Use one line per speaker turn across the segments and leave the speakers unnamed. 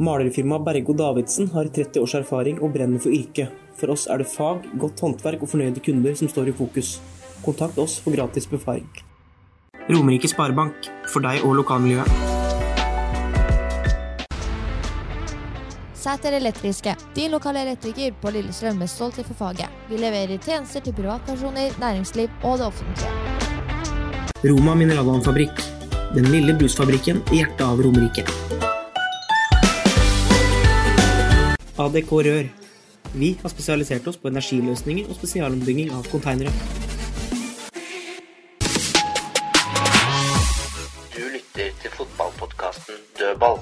Malerfirmaet Bergo Davidsen har 30 års erfaring og brenner for yrket. For oss er det fag, godt håndverk og fornøyde kunder som står i fokus. Kontakt oss for gratis befaring. Romerike Sparebank, for deg og lokalmiljøet.
Sæter Elektriske, din lokale elektriker på Lillestrøm med stolthet for faget. Vi leverer tjenester til privatpersoner, næringsliv og det offentlige.
Roma Mineralvannfabrikk. Den lille brusfabrikken i hjertet av Romerike. ADK Rør. Vi har spesialisert oss på energiløsninger og spesialombygging av konteinere.
Du lytter til fotballpodkasten Dødball.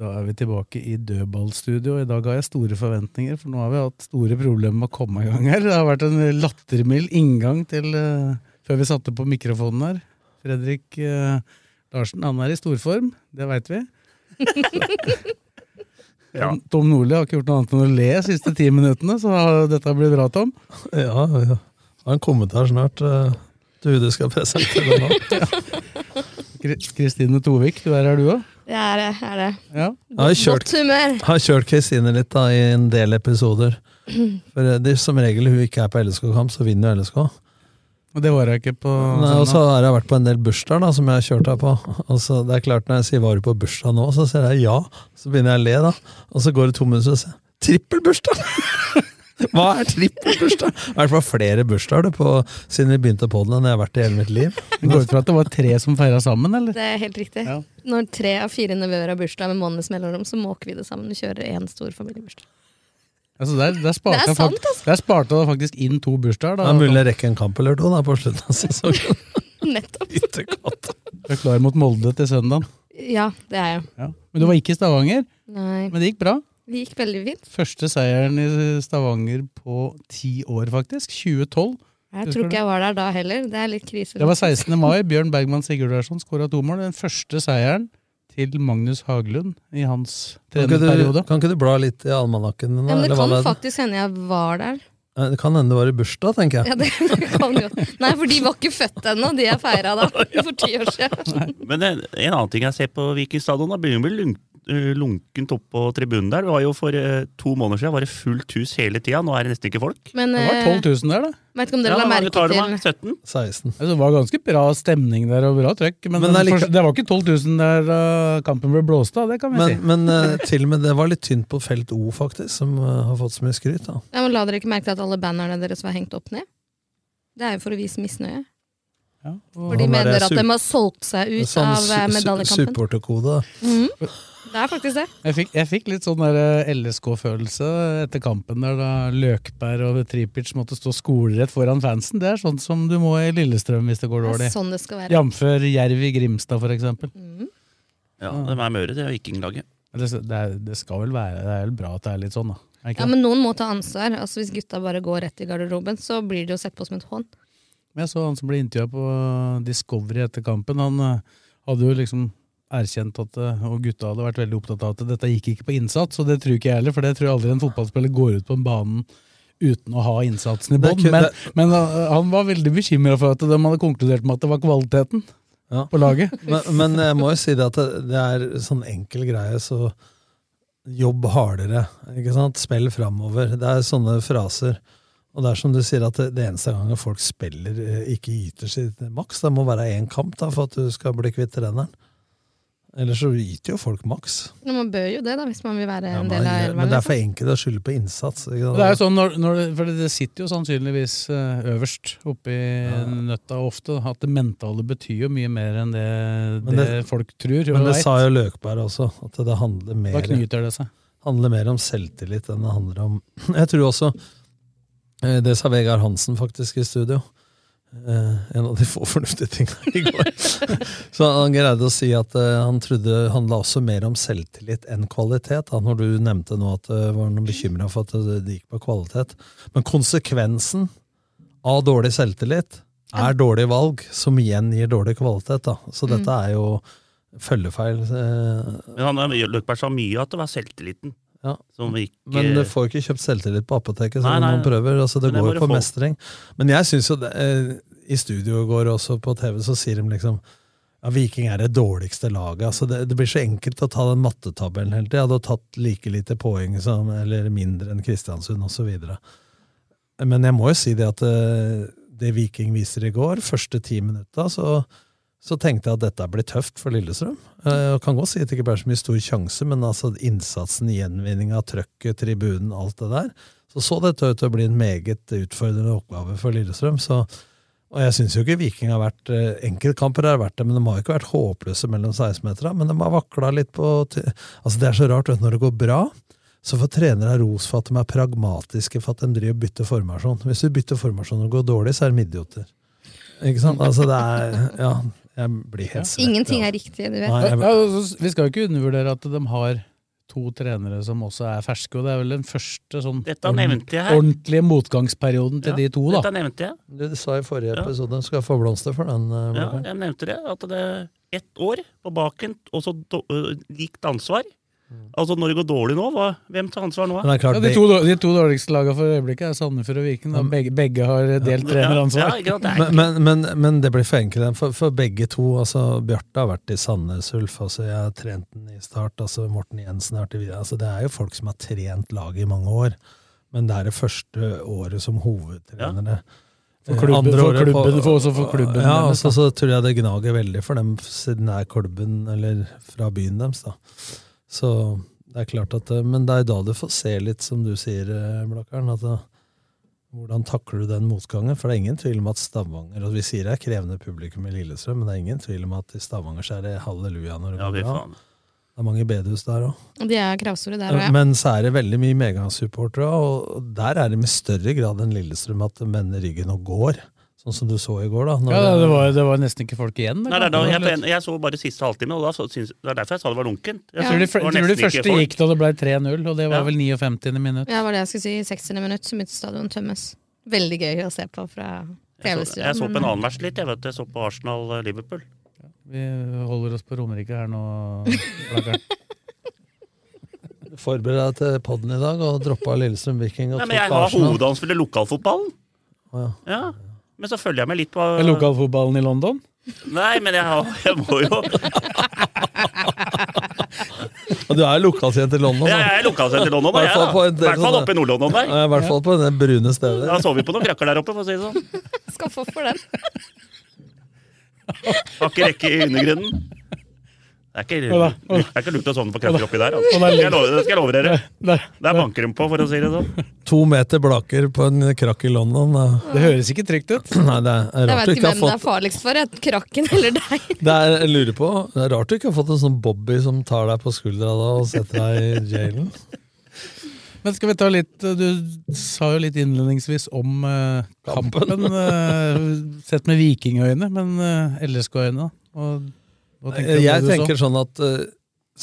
Da er vi tilbake i dødballstudio. I dag har jeg store forventninger, for nå har vi hatt store problemer med å komme i gang her. Det har vært en lattermild inngang til eh, før vi satte på mikrofonen her. Fredrik eh, Larsen, han er i storform, det veit vi.
Ja.
Tom, Tom Nordli har ikke gjort noe annet enn å le de siste ti minuttene, så har- dette blir bra, Tom.
Ja, ja. Han kommer til her snart. eh, Du, du skal presentere det nå.
Kri- Kristine Tovik, du er her, du òg?
Det er det. Er det.
Ja.
Jeg har kjørt,
Godt humør.
jeg har kjørt Kristine litt da, i en del episoder. For eh, det, er som regel hun ikke er på LSK-kamp, så vinner jo LSK.
Og det var jeg ikke på
Nei,
sånn,
altså, Og så har jeg vært på en del bursdager da, som jeg har kjørt her på. Og så det er klart Når jeg sier 'var du på bursdag nå', så sier jeg ja. Så begynner jeg å le, da. Og så går det to minutter, så sier jeg 'trippelbursdag'! Hva er trippelbursdag? Det har vært på flere bursdager du, på, siden vi begynte på den enn jeg har vært i hele mitt liv.
Det Går ut fra at det var tre som feira sammen, eller?
Det er helt riktig.
Ja.
Når tre av fire nevøer har bursdag med månedens mellomrom, så måker vi det sammen og kjører én stor familiebursdag.
Altså der, der sparte
Det er
jeg
sant, altså.
fakt- Der sparte jeg faktisk inn to bursdager.
Det
Da,
er mulig jeg rekker en kamp eller to da, på slutten av sesongen.
Nettopp.
Ytterkatt.
Du er klar mot Molde til søndagen.
Ja, det er jeg.
Ja. Men du var ikke i Stavanger.
Nei.
Men det gikk bra.
Det gikk veldig fint.
Første seieren i Stavanger på ti år, faktisk. 2012.
Jeg tror ikke jeg var der da heller. Det er litt krise.
Det var 16. mai. Bjørn Bergman Sigurdarsson skåra to mål. Den første seieren til Magnus Haglund i hans
Kan ikke, du,
trenerperiode.
kan ikke du bla litt i almanakken? din, da,
Ja, men
eller
det
hva
kan
det er?
faktisk hende jeg var der.
Eh, det kan hende det var i bursdag, tenker jeg.
Ja, det kan jo. Nei, for de var ikke født ennå, de jeg feira da for ti år siden.
Men en, en annen ting jeg ser på Viking stadion, da begynner det å bli lunk, eh, lunkent opp på tribunen der. Det var jo For eh, to måneder siden var det fullt hus hele tida, nå er det nesten ikke folk.
Men
Det var
eh,
12 000 der, da.
vet ikke om dere la
hvor mange
merke
tar
til
de, da? 17?
16.
Altså, Det var ganske bra stemning der og bra trøkk. Men,
Men det
det,
er like-
det var ikke 12 000 der da kampen ble blåst av. Det kan vi
Men,
si.
men eh, til og med det var litt tynt på felt O, faktisk, som eh, har fått så mye skryt. da.
ja, men La dere ikke merke til at alle bannerne deres var hengt opp ned? Det er jo for å vise misnøye.
Ja.
For de
Han er
mener at
su-
de har solgt seg ut
Sånn
av eh,
su- su-
medaljekampen.
supporterkode.
Mhm. Det er faktisk det.
Jeg fikk, jeg fikk litt sånn der eh, LSK-følelse etter kampen der da Løkberg og Tripic måtte stå skolerett foran fansen. Det er sånn som du må i Lillestrøm hvis det går
Det
dårlig.
er sånn det skal være.
Jamfør Jerv i Grimstad, for eksempel.
Ja, de er møre, det er vikinglaget.
Det, det, er, det skal vel være Det er vel bra at det er litt sånn, da. Er ikke
Ja,
det?
Men noen må ta ansvar. Altså Hvis gutta bare går rett i garderoben, så blir det jo sett på som et hån.
Men jeg så han som ble intervjua på eh, Discovery etter kampen. Han eh, hadde jo liksom erkjent at eh, og gutta hadde vært veldig opptatt av at dette gikk ikke på innsats, og det tror ikke jeg heller, for det tror jeg aldri en fotballspiller går ut på en banen uten å ha innsatsen i
Det er
bånn.
kun-
Men,
det-
men eh, han var veldig bekymra for at de hadde konkludert med at det var kvaliteten
Ja.
på laget.
Men, men jeg må jo si det at det, det er sånn enkel greie, så jobb hardere. ikke sant? Spill framover. Det er sånne fraser. Og det er som du sier, at det, det eneste gangen folk spiller eh, ikke yter sitt maks, det må være én kamp da, for at du skal bli kvitt treneren. Ellers så yter jo folk maks.
Men man bør jo det, da, hvis man vil være
Ja,
en
men,
del av
men det
elveren.
er for enkelt å skylde på innsats. Ikke sant?
Og Det er jo sånn, når, når, det- for det sitter jo sannsynligvis eh, øverst oppi nøtta ofte, at det mentale betyr jo mye mer enn det,
Men
det,
det-
folk tror. og
men det
vet.
sa jo Løkberg også, at det handler
Da
mer,
knyter det seg.
handler mer om selvtillit enn det handler om Jeg tror også eh, Det sa Vegard Hansen faktisk i studio. eh, en av de få fornuftige tingene i går. Så han greide å si at eh, han trodde det handla også mer om selvtillit enn kvalitet. Da, når du nevnte nå at det var noen bekymra for at det det gikk på kvalitet. Men konsekvensen av dårlig selvtillit er dårlige valg, som igjen gir dårlig kvalitet. Da. Så dette er jo følgefeil. eh,
Men han har- Løkberg sa mye at det var selvtilliten
Ja.
som gikk
Men du
eh,
får ikke kjøpt selvtillit på apoteket,
Nei,
selv om
nei,
man prøver. Altså, det
men det
går
må du
jo på
få.
mestring. Men jeg syns jo det, eh, I studio i går, også på TV, så sier de liksom ja, Viking er det dårligste laget. Altså, det, det blir så enkelt å ta den mattetabellen hele tida. Du har tatt like lite poeng som, eller mindre enn Kristiansund, osv. Men jeg må jo si det at eh, det Viking viser i går, første ti minutta, så, så tenkte jeg at dette blir tøft for Lillestrøm. Eh, Og kan godt si at det ikke ble så mye stor sjanse, men altså innsatsen, gjenvinninga, trøkket, tribunen, alt det der. Så så dette ut til å bli en meget utfordrende oppgave for Lillestrøm. så og jeg syns jo ikke Viking har vært eh, Enkeltkamper har vært det, men de har jo ikke vært håpløse mellom 16-meterne. Men de har vakla litt på ty- Altså, det er så rart, vet du, når det går bra, så får trenere ros for at de er pragmatiske for at de driver og bytter formasjon. Hvis du bytter formasjon og det går dårlig, så er de idioter. Ikke sant? Altså, det er Ja, jeg blir helt svett.
Ingenting
ja.
er riktig, du vet.
Nei,
Ja,
jeg,
altså, s- vi skal jo ikke undervurdere at de har to trenere som også er ferske, og det er vel den første sånn
Dette
ordent-
nevnte jeg her.
ordentlige motgangsperioden til
Ja,
de to, da.
Dette nevnte jeg.
Du sa i forrige
Ja.
episode du skal få blomster for den. eh,
Ja,
bloggeren.
jeg nevnte det. At det er ett år på baken, og så do- øh, likt ansvar. Altså, når det går dårlig nå, hva, hvem tar ansvar nå?
Men det er klart,
Ja, de, to, dår- de to dårligste lagene for øyeblikket er Sandefjord og Viken. Da. Begge, begge har delt treneransvar.
Ja, ikke sant? Det er
Men, men, men, men det blir for enkelt, for, for begge to. altså Bjarte har vært i Sandnes Ulf, altså jeg har trent den i start. altså Morten Jensen har vært i videre. altså Det er jo folk som har trent laget i mange år, men det er det første året som hovedtrenere.
For klubben-
Andre
for
året på-
klubben, for også for klubben
Ja,
deres,
altså, så tror jeg det gnager veldig for dem, siden det er klubben eller fra byen deres. da. Så det er klart at eh, Men det er da du får se litt, som du sier, eh, Blakkaren. at eh, hvordan takler du den motgangen? For det er ingen tvil om at Stavanger og Vi sier det er krevende publikum i Lillestrøm, men det er ingen tvil om at i Stavanger så er det halleluja når det
Ja, fy
går bra.
faen.
Det er mange bedehus der òg.
De er kravstore der òg, ja.
Men så er det veldig mye medgangssupportere, og der er det med større grad enn Lillestrøm at de vender ryggen og går. Sånn som du så i går, da. når
Ja, det var, det var nesten ikke folk igjen.
Nei, det er da,
det var
jeg,
litt-
jeg så bare siste halvtime, og da så, syns- det er derfor jeg sa det var lunkent. Jeg
tror de,
det var
tror de
nesten ikke
første
folk.
gikk da det ble 3-0, og det var
Ja.
vel 59. minutt.
Ja, det var det jeg skulle si. I 60. minutt så mitt stadion tømmes. Veldig gøy å se på fra
Jeg så,
TV-stua.
jeg så på
men-
Mm.
en annen vers litt, jeg vet det. Jeg så på eh, Arsenal-Liverpool.
Vi holder oss på Romerike her nå. Blakkaren.
du forbereder deg til podden i dag og droppa Lillestrøm Viking
Nei,
og tok
men jeg har
Arsenal.
hovedansvar i lokalfotballen.
Å, ja.
Ja. Men så følger jeg med litt på
Er Lokalfotballen i London?
Nei, men jeg, har, jeg må jo
Og du er lokalkjent i London,
Jeg
da.
er lokalsendt i London, da.
I hvert
jeg,
fall
da.
på
I
en del
hvert fall
sånne-
oppe i Nord-London der.
Ja, I hvert fall på det brune stedet.
Da så vi på noen krakker der oppe, for å si det sånn.
Skal få for den.
Har ikke rekke i undergrunnen. Det er ikke,
Hva da?
det er ikke lurt å sovne på krakker oppi der. Altså.
Hva da?
Jeg lover, det skal jeg love dere.
Der.
Der banker de på, for å si det sånn.
To meter blaker på en krakk i London. da.
Det høres ikke trygt ut.
Nei, det er
Jeg
rart
veit
du
ikke
ikke
hvem det
har
er
fått
farligst for, jeg. krakken eller deg.
det er, jeg lurer på, det er rart du ikke har fått en sånn Bobby som tar deg på skuldra da og setter deg i jailen.
Men skal vi ta litt eh, Du sa jo litt innledningsvis om eh, kampen. eh, sett med vikingøyne, men eh, LSK-øyne, da? Og, hva tenkte du om
Jeg
det du så?
tenker sånn at eh,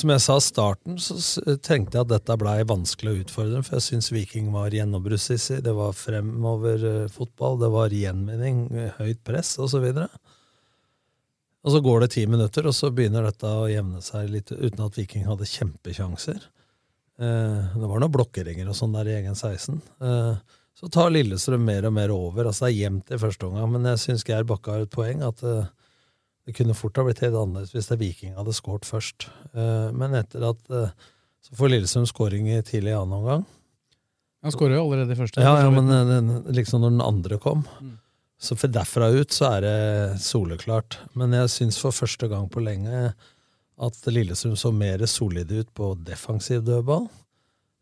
som jeg sa i starten, så s- eh, tenkte jeg at dette blei vanskelig å utfordre. For jeg syns Viking var gjennombruddssissig. Det var fremover eh, fotball, det var gjenvinning, eh, høyt press osv. Og så går det ti minutter, og så begynner dette å jevne seg litt, uten at Viking hadde kjempekjanser. Eh, Det var noen blokkeringer og sånn der i egen 16. Eh, Så tar Lillestrøm mer og mer over. Altså Det er jevnt i første omgang, men jeg syns Geir Bakke har et poeng. at eh, det kunne fort ha blitt helt annerledes hvis det Viking hadde skåret først. Eh, Men etter at eh, så får Lillestrøm skåring i tidlig i annen omgang.
Han skåra jo allerede i første.
Ja, ja, men eh, den, liksom når den andre kom. Så for derfra ut så er det soleklart. Men jeg syns for første gang på lenge at Lillestrøm så mer solide ut på defensiv dødball.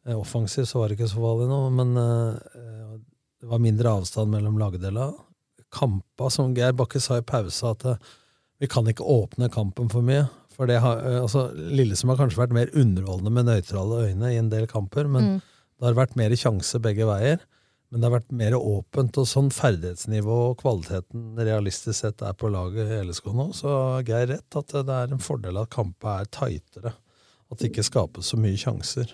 Eh, Offensiv så var det ikke så farlig nå, men eh, eh, det var mindre avstand mellom lagdela. Kampa, som Geir Bakke sa i pausa, at eh, vi kan ikke åpne kampen for mye. For det har, eh, altså, Lillestrøm har kanskje vært mer underholdende med nøytrale øyne i en del kamper, men det har vært mer sjanse begge veier. Men det har vært mer åpent, og sånn ferdighetsnivå og kvaliteten realistisk sett er på laget i LSK nå, så har Geir rett at det er en fordel at kampene er tightere. At det ikke skapes så mye sjanser.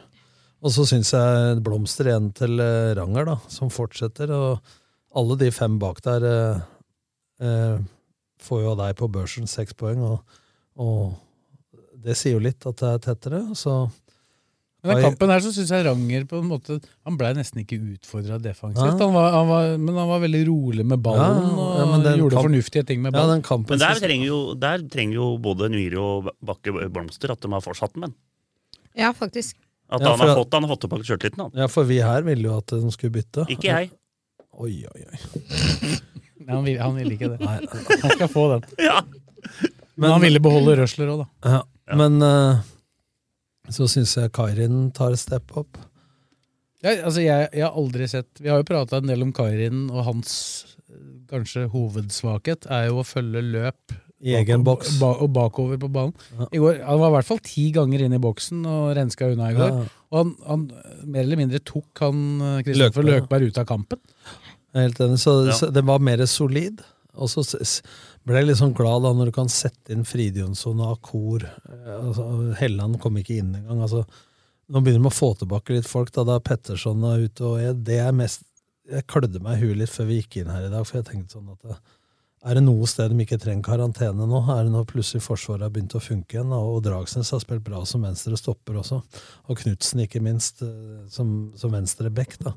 Og så syns jeg blomster igjen til eh, Ranger, da, som fortsetter. Og alle de fem bak der eh, eh, får jo av deg på børsen seks poeng, og, og det sier jo litt at det er tettere. Så
Men i kampen her så syns jeg Ranger på en måte Han blei nesten ikke utfordra defensivt.
Ja.
Han var, han var, men han var veldig rolig med ballen og gjorde fornuftige ting med ballen.
Men der trenger, jo, der trenger jo både Nyhre og Bakke Blomster at de har fortsatt den, men.
Ja, faktisk.
At
Ja,
han,
for
har
at-
fått, han har fått tilbake sjøltilliten, han.
Ja, for vi her ville jo at de skulle bytte.
Ikke jeg.
Oi, oi, oi.
Nei, han, ville, han ville ikke det.
Nei.
Han skal få den. Men han ville beholde Røsler òg, da.
Ja, Men eh, så syns jeg Kairin tar et step up.
Jeg, altså jeg, jeg har aldri sett Vi har jo prata en del om Kairin, og hans eh, kanskje hovedsvakhet er jo å følge løp
I egen boks.
ba, og bakover på banen. I går, Han var i hvert fall ti ganger inne i boksen og renska unna i går.
Ja.
Og han, han eh, mer eller mindre tok han eh, Kristoffer
Løkberg.
Løkberg ut av kampen.
Jeg er Helt enig. Så,
Ja.
så den var mer solid. Og så s- s- ble jeg litt sånn glad da når du kan sette inn Fridjonsson og Akor. Eh, Altså, Helland kom ikke inn engang. Altså, nå begynner de å få tilbake litt folk. Da, da Petterson er ute og jeg, det er mest, jeg klødde meg i huet litt før vi gikk inn her i dag, for jeg tenkte sånn at det, er det noe sted de ikke trenger karantene nå? Er det nå plutselig Forsvaret har begynt å funke igjen? Og og Dragsnes har spilt bra som venstre stopper også. Og Knutsen, ikke minst, eh, som, som venstre back. da.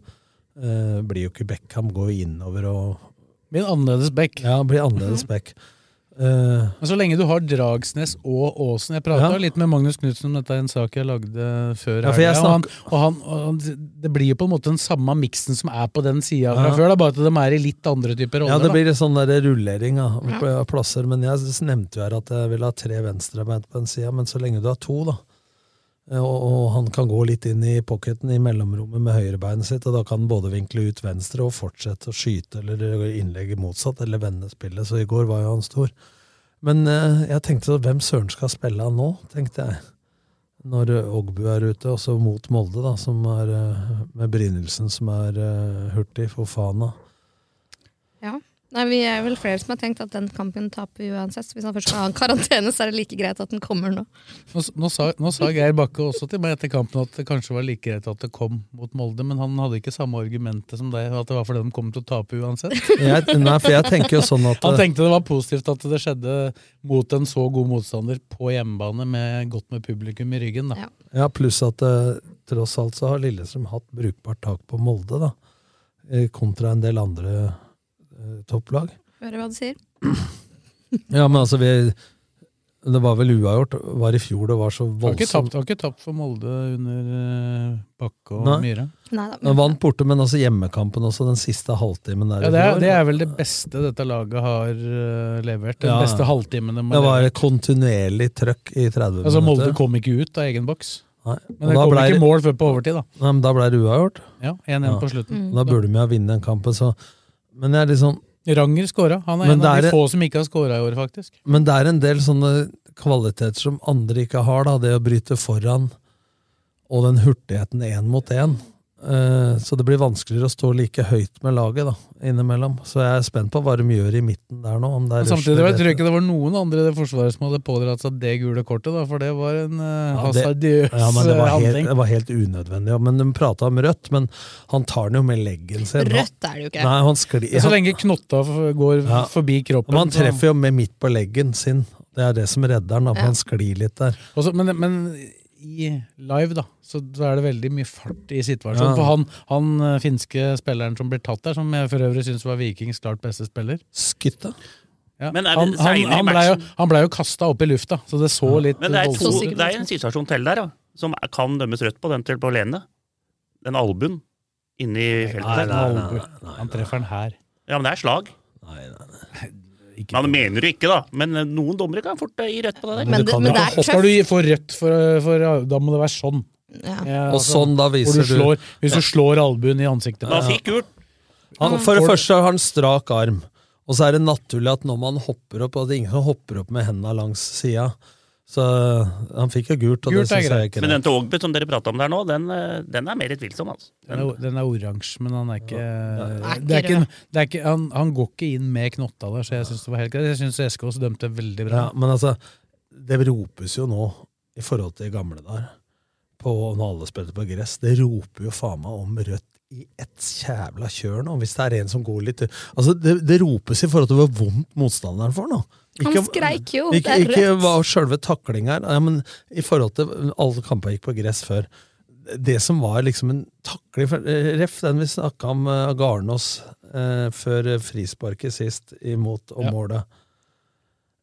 Eh, blir jo ikke Beckham, går jo innover og
Blir annerledes Mhm. back.
Ja, blir annerledes back. Eh,
Men så lenge du har Dragsnes og Aasen Jeg prata
Ja.
litt med Magnus Knutsen om dette i en sak jeg lagde før.
Ja, for jeg
helga, og, han, og, han, og han, Det blir jo på en måte den samme miksen som er på den sida fra
Ja.
før, da, bare at de er i litt andre typer roller.
Ja, det
da.
blir en sånn der rullering av av plasser. Men jeg s- nevnte jo her at jeg vil ha tre venstrebeint på en side, men så lenge du har to, da. eh, Og, og han kan gå litt inn i pocketen i mellomrommet med høyrebeinet sitt, og da kan han både vinkle ut venstre og fortsette å skyte eller innlegge motsatt, eller vende spillet. Så i går var jo han stor. Men eh, jeg tenkte så, hvem søren skal spille han nå, tenkte jeg. Når eh, Ogbu er ute, også mot Molde, da, som er eh, med Brynildsen, som er eh, hurtig for Fana.
Ja. Nei, vi er vel flere som har tenkt at den kampen taper vi uansett. så Hvis han først skal ha en karantene, så er det like greit at den kommer nå.
Nå, s- nå, sa, nå sa Geir Bakke også til meg etter kampen at det kanskje var like greit at det kom mot Molde, men han hadde ikke samme argumentet som deg, at det var fordi de kom til å tape uansett.
Jeg- nei, for jeg tenker jo sånn at-
Han tenkte det var positivt at det skjedde mot en så god motstander på hjemmebane med godt med publikum i ryggen, da.
Ja, pluss at eh, tross alt så har Lillestrøm hatt brukbart tak på Molde, da. eh, Kontra en del andre eh, topplag.
Hører hva du sier.
Ja, men altså, vi Det var vel uavgjort. Var i fjor det var så
Har ikke,
voldsomt.
tapt, har ikke tapt for Molde under eh, Bakke og
Nei.
Myhre.
Men vant borte, men altså hjemmekampen også, den siste halvtimen
Ja,
der. i
det, er,
fjor.
det er vel det beste dette laget har eh, levert. Den
Ja.
beste halvtimen de
Det
har
var
levert.
kontinuerlig trøkk i 30
Altså, Molde
minutter.
kom ikke ut av egen boks.
Nei.
Men det
Og da
kom
ble det-
ikke mål før på overtid, da.
Nei, men da ble det uavgjort.
Ja, 1-1 på slutten.
Da burde vi ha vunnet den kampen, så Men jeg er liksom
Ranger skåra. Han er
Men
en av
det
de
er-
få som ikke har skåra i år, faktisk.
Men det er en del sånne kvaliteter som andre ikke har, da. Det å bryte foran og den hurtigheten én mot én. Eh, Så det blir vanskeligere å stå like høyt med laget da, innimellom. Så jeg er spent på hva de gjør i midten der nå. Om det
Men
er
samtidig
Rushden
jeg tror jeg
eller-
ikke det var noen andre i det forsvaret som hadde pådratt seg det gule kortet, da, for det var en uh,
Ja, det-
hasardiøs
ja, men det,
eh,
var helt,
handling.
det var helt unødvendig. Ja, men De prata om rødt, men han tar den jo med leggen sin.
Rødt er det jo ikke.
Nei, han skli,
Så lenge knotta f- går
Ja.
forbi kroppen
Men han
så-
treffer jo med midt på leggen sin. Det er det som redder han, da, for
Ja.
han sklir litt der.
Og så- men, men i live, da, så så er det veldig mye fart i situasjonen.
Ja.
For han, han eh, finske spilleren som blir tatt der, som jeg for øvrig syns var Vikings klart beste spiller
Skytta?
Ja.
Men er det
han, han,
senere i
han ble jo, han ble jo kasta opp i lufta, så det så litt
Men det er, to,
voldsomt ut.
det er en situasjon til der, ja, som er- kan dømmes rødt på, den til på Lene. Den albuen inni feltet.
nei, nei, nei, Han treffer den her.
Ja, men det er slag. Man mener jo ikke, da. Men eh, noen dommere kan fort eh, gi rødt på det der.
Men det- men det er
Skal du gi- få rødt for, for Da må det være sånn. Ja,
Og sånn da viser
hvor
du-
slår, Hvis
Ja.
du slår albuen i ansiktet
Da fikk gult. Han, for det første har han strak arm, og så er det naturlig at når man hopper opp, at ingen hopper opp med hendene langs sida. Så eh, han fikk jo gult, og det syns jeg er ikke
Men den
greit.
til Ågbø som dere prata om der nå, den, eh, den er mer litt vilsom, altså.
Den er, den er oransje, men han er ikke,
Ja.
det er ikke, det er ikke han, han går ikke inn med knotta der, så jeg syns det var helt greit. Jeg syns Eskås dømte veldig bra.
Ja, men altså, det ropes jo nå, i forhold til gamle dager, på når alle spilte på gress, det roper jo faen meg om rødt i ett jævla kjør nå, hvis det er en som går litt Altså, det, det ropes i forhold til hvor vondt motstanderen får nå.
Han skreik jo, det
Ikke,
er
ikke
rødt.
hva selve taklinga er, ja, men i forhold til alle kamper gikk på gress før. Det som var liksom en takling for- eh, Ref, den vi snakka om eh, Garnås eh, før frisparket sist, imot og
Ja.
målet.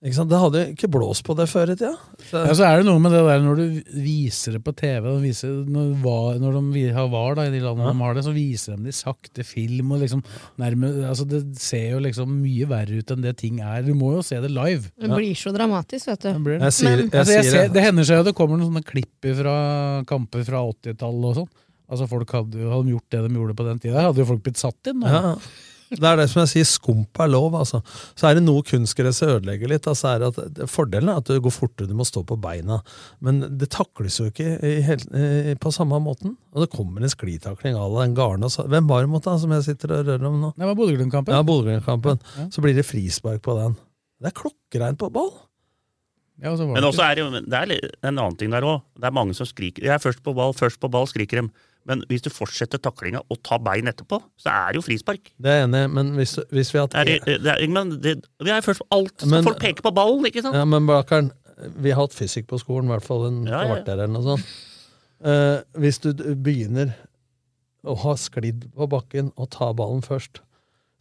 Ikke sant? Det hadde jo ikke blåst på det før i tida. Så-
Ja, så er det noe med det der når du viser det på TV, og viser, når, var, når de vi- har VAR da, i de landene
Ja.
de har det, så viser de det i sakte film. og liksom nærme, altså Det ser jo liksom mye verre ut enn det ting er. Du må jo se det live.
Det blir så dramatisk, vet du.
blir det.
Jeg sier-
Men-
jeg
altså, jeg
sier
ser,
det.
det hender seg jo det kommer noen sånne klipp fra kamper fra 80-tallet og sånn. Altså Folk hadde jo hadde de gjort det de gjorde på den tida. Der hadde jo folk blitt satt inn. da.
Ja. Det er det som jeg sier, skump er lov. Altså. Så er det noe kunstgresset ødelegger litt. Altså er det at, det- fordelen er at det går fortere, du må stå på beina. Men det takles jo ikke i hel, eh, på samme måten. Og det kommer en sklitakling à la den Garnås. Hvem var det mot, da, som jeg sitter og rører om nå?
Det var Bodø-Glimt-kampen.
Ja, Bodø-Glimt-kampen.
Ja.
Så blir det frispark på den. Det er klokkereint på ball!
Ja, og så var
Men
det
også er det, jo- men det er litt- en annen ting der òg. Det er mange som skriker. Jeg er først på ball, først på ball, skriker dem. Men hvis du fortsetter taklinga og tar bein etterpå, så er det jo frispark.
Det er jeg enig i, men hvis, hvis vi har hatt
Er det, det er, men det, vi er først på alt.
Men-
folk peker på ballen, ikke sant?
Ja, men Blakkaren, vi har hatt fysikk på skolen, i hvert fall en
Ja, ja, ja.
kvarter eller noe sånt. Eh, hvis du d- begynner å ha sklidd på bakken og ta ballen først,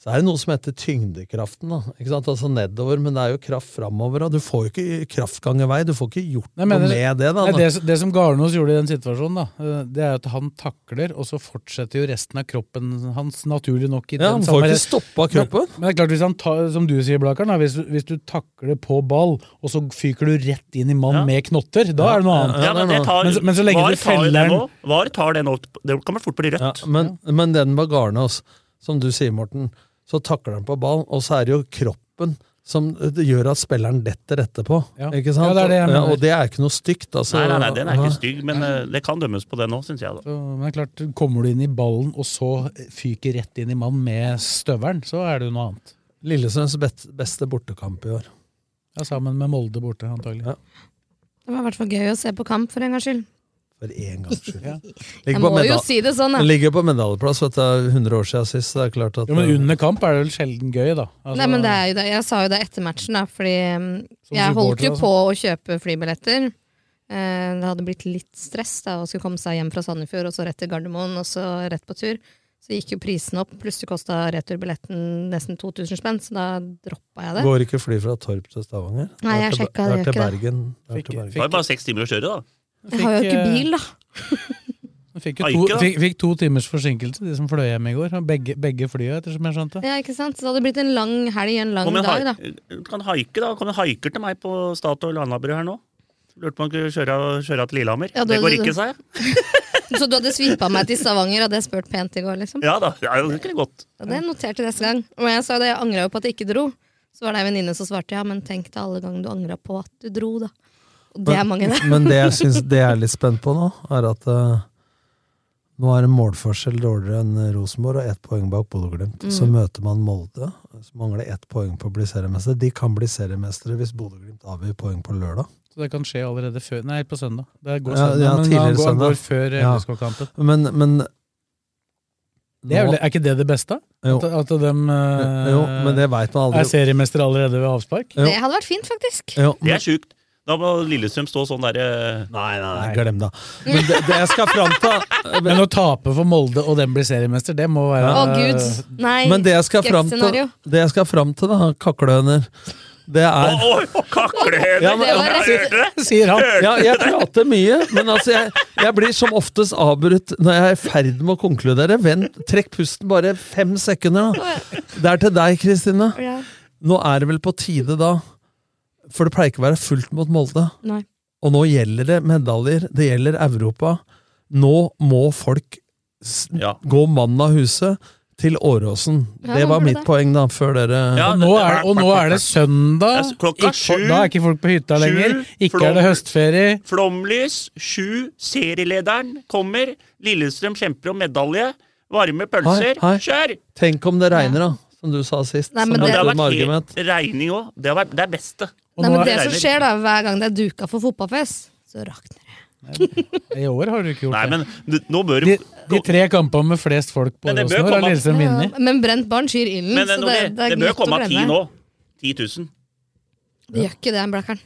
så er det noe som heter tyngdekraften. da, ikke sant? Altså nedover, men det er jo kraft framover. Og du får jo ikke kraftgangevei, du får ikke gjort
Nei, men
noe
det-
med det. da.
Nei, det, det som Garnås gjorde i den situasjonen, da, eh, det er at han takler, og så fortsetter jo resten av kroppen hans naturlig nok. I
ja,
den
Han får
samme-
ikke stoppa kroppen.
Men, men det er klart, hvis han tar, som du sier, Blakeren, da, hvis, hvis du takler på ball, og så fyker du rett inn i mann
Ja.
med knotter, da er det noe annet.
Ja, men, det tar,
Men så- men så lenge
var
du
tar jo
feller
det
den-
nå. Var tar det nå. Det kan vel fort bli
Ja,
rødt.
men, men den med Garnås, som du sier, Morten, så takler han på ball, og så er det jo kroppen som det gjør at spilleren detter etterpå.
Ja.
Ikke
Ja,
sant?
det er det jeg
ja,
mener.
og det er ikke noe stygt. Altså.
Nei, nei, nei, den er
Ja.
ikke stygg, men eh, det kan dømmes på det nå, syns jeg. da.
Så, men det er klart, kommer du inn i ballen, og så fyker rett inn i mann med støvelen, så er det jo noe annet.
Lillestrøms bet- beste bortekamp i år.
Ja, sammen med Molde borte, antagelig.
Ja.
Det var i hvert fall gøy å se på kamp, for en gangs skyld.
For én gangs skyld.
Ja.
Ligger
Jeg
på
må jo
medal-
si det sånn, da.
Den ligger på medaljeplass, vet du. det er 100 år siden sist. så Det er klart at
Jo, men under kamp er det vel sjelden gøy, da. Altså,
Nei, men det er jo det. Jeg sa jo det etter matchen, da, fordi mm,
Som
jeg holdt jo
supporter, altså.
på å kjøpe flybilletter. Eh, Det hadde blitt litt stress da, å skulle komme seg hjem fra Sandefjord, og så rett til Gardermoen, og så rett på tur. Så gikk jo prisen opp, plutselig kosta returbilletten nesten 2000 spenn, så da droppa jeg det.
Går ikke fly fra Torp til Stavanger?
Nei, jeg
Det er til-
sjekka, det
det. Er
gjør ikke
til
det.
Bergen. Det er
Fikk-
til Bergen.
Det var jo bare seks timer å kjøre, da.
Jeg har jo
Fikk,
ikke
eh,
bil, da.
Fikk, jo
Haike,
to,
da.
fikk, fikk to timers forsinkelse, de som fløy hjem i går. og Begge, begge flya, ettersom jeg skjønte.
Ja, ikke sant? Så det hadde blitt en lang helg, en lang
Kom en,
dag, da.
hai- du kan haike, da. Kom en haiker til meg på Statoil Alnabru her nå. Lurte på om han kunne kjøre, kjøre til Lillehammer.
Ja,
det
du-
går ikke, sa jeg.
Så du hadde svipa meg til Stavanger, hadde jeg spurt pent i går, liksom?
Ja da, ja, det kunne gått.
Så det noterte jeg neste gang. Og jeg sa det, jeg angra jo på at jeg ikke dro. Så var det ei venninne som svarte ja, men tenk deg alle ganger du angra på at du dro, da. Og det er mange, det.
Men det jeg syns det jeg er litt spent på nå, er at eh, nå er det målforskjell dårligere enn Rosenborg og ett poeng bak Bodø-Glimt.
Mm.
Så møter man Molde, som mangler ett poeng på å bli seriemester. De kan bli seriemestere hvis Bodø-Glimt avgir poeng på lørdag.
Så det kan skje allerede før Nei, på søndag. Det går
Ja,
søndag,
ja,
men
tidligere
han går, han
søndag.
går før eh,
Ja.
LSK-kampen.
Men, men
Det er,
nå-
vel, er ikke det det beste?
jo,
At, at de eh,
jo, men det veit man
er
aldri.
seriemester allerede ved avspark?
Jo.
Det hadde vært fint, faktisk.
Jo,
Det
men,
er sjukt. Da må Lillestrøm stå sånn derre
nei, nei, nei, glem det. Men det, det jeg skal fram til
Men å tape for Molde og den blir seriemester, det må være
Å gud, nei.
Eh, Men det jeg skal fram til,
skrekkscenario.
det jeg skal fram til da, kaklehøner, det
Å,
er
å, å, kaklehøner!
Ja, men-
Ja, men jeg hørte det!
Sier han.
Ja, jeg prater mye, men altså jeg, jeg blir som oftest avbrutt når jeg er i ferd med å konkludere. Vent, trekk pusten bare fem sekunder, da. Det er til deg, Kristine.
Ja.
Nå er det vel på tide, da. For det pleier ikke å være fullt mot Molde.
Nei.
Og nå gjelder det medaljer, det gjelder Europa. Nå må folk s-
Ja.
gå mannen av huset. til Åråsen.
Ja,
det
man
var
burde
mitt
det.
poeng, da, før dere
og, nå er, og nå er det søndag.
Det er klokka
Ikke-
sju.
Da er ikke folk på hytta
Sju.
lenger. Ikke
Flom-
er det høstferie.
Flomlys, sju, serielederen kommer. Lillestrøm kjemper om medalje. Varme
Hei,
pølser.
hei.
Kjør!
Tenk om det regner, da, som du sa sist.
Nei,
som
men
et
det-
Ja, det
dum
har vært
argument.
helt regning òg. Det, har vært- det er beste.
Nei, men det som skjer da, hver gang det er duka for fotballfest, så rakner det.
I år har du ikke gjort
Nei, men du, nå bør
det. De, de tre kampene med flest folk på
Men det bør
Åråsen i år har
komme-
Lillestrøm vunnet.
Men brent barn skyr ilden,
Men
så
eh,
det,
Norge,
det er
det bør
lett å
komme av ti
glemme.
nå. 10 000.
Det gjør ikke det, Blakkaren.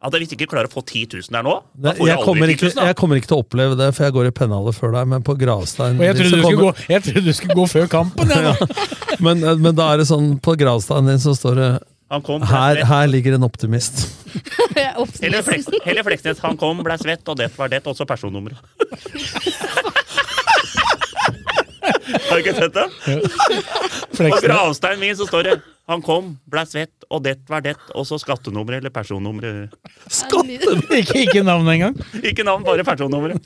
At hvis ikke klarer å få 10 000 der nå, da
Nei,
får du
Jeg kommer,
aldri 10 000.
ikke,
Da.
jeg kommer ikke til å oppleve det, for jeg går i pennalet før deg, men på gravsteinen
Og jeg
din
trodde,
så
du skulle gå,
kommer-
jeg trodde du skulle gå før kampen! Jeg, da.
men, men da er det sånn, på gravsteinen din så står det
Han kom, ble
her,
svett.
her ligger en optimist.
Eller Fleks, Helle Fleksnes. Han kom, ble svett, og det var det. Også personnummeret. Har du ikke sett det? På
Fleksnes.
gravsteinen min så står det 'Han kom, blei svett, og det var det', og så skattenummeret eller personnummeret.
Ikke, ikke navnet engang.
Ikke navn, bare personnummeret.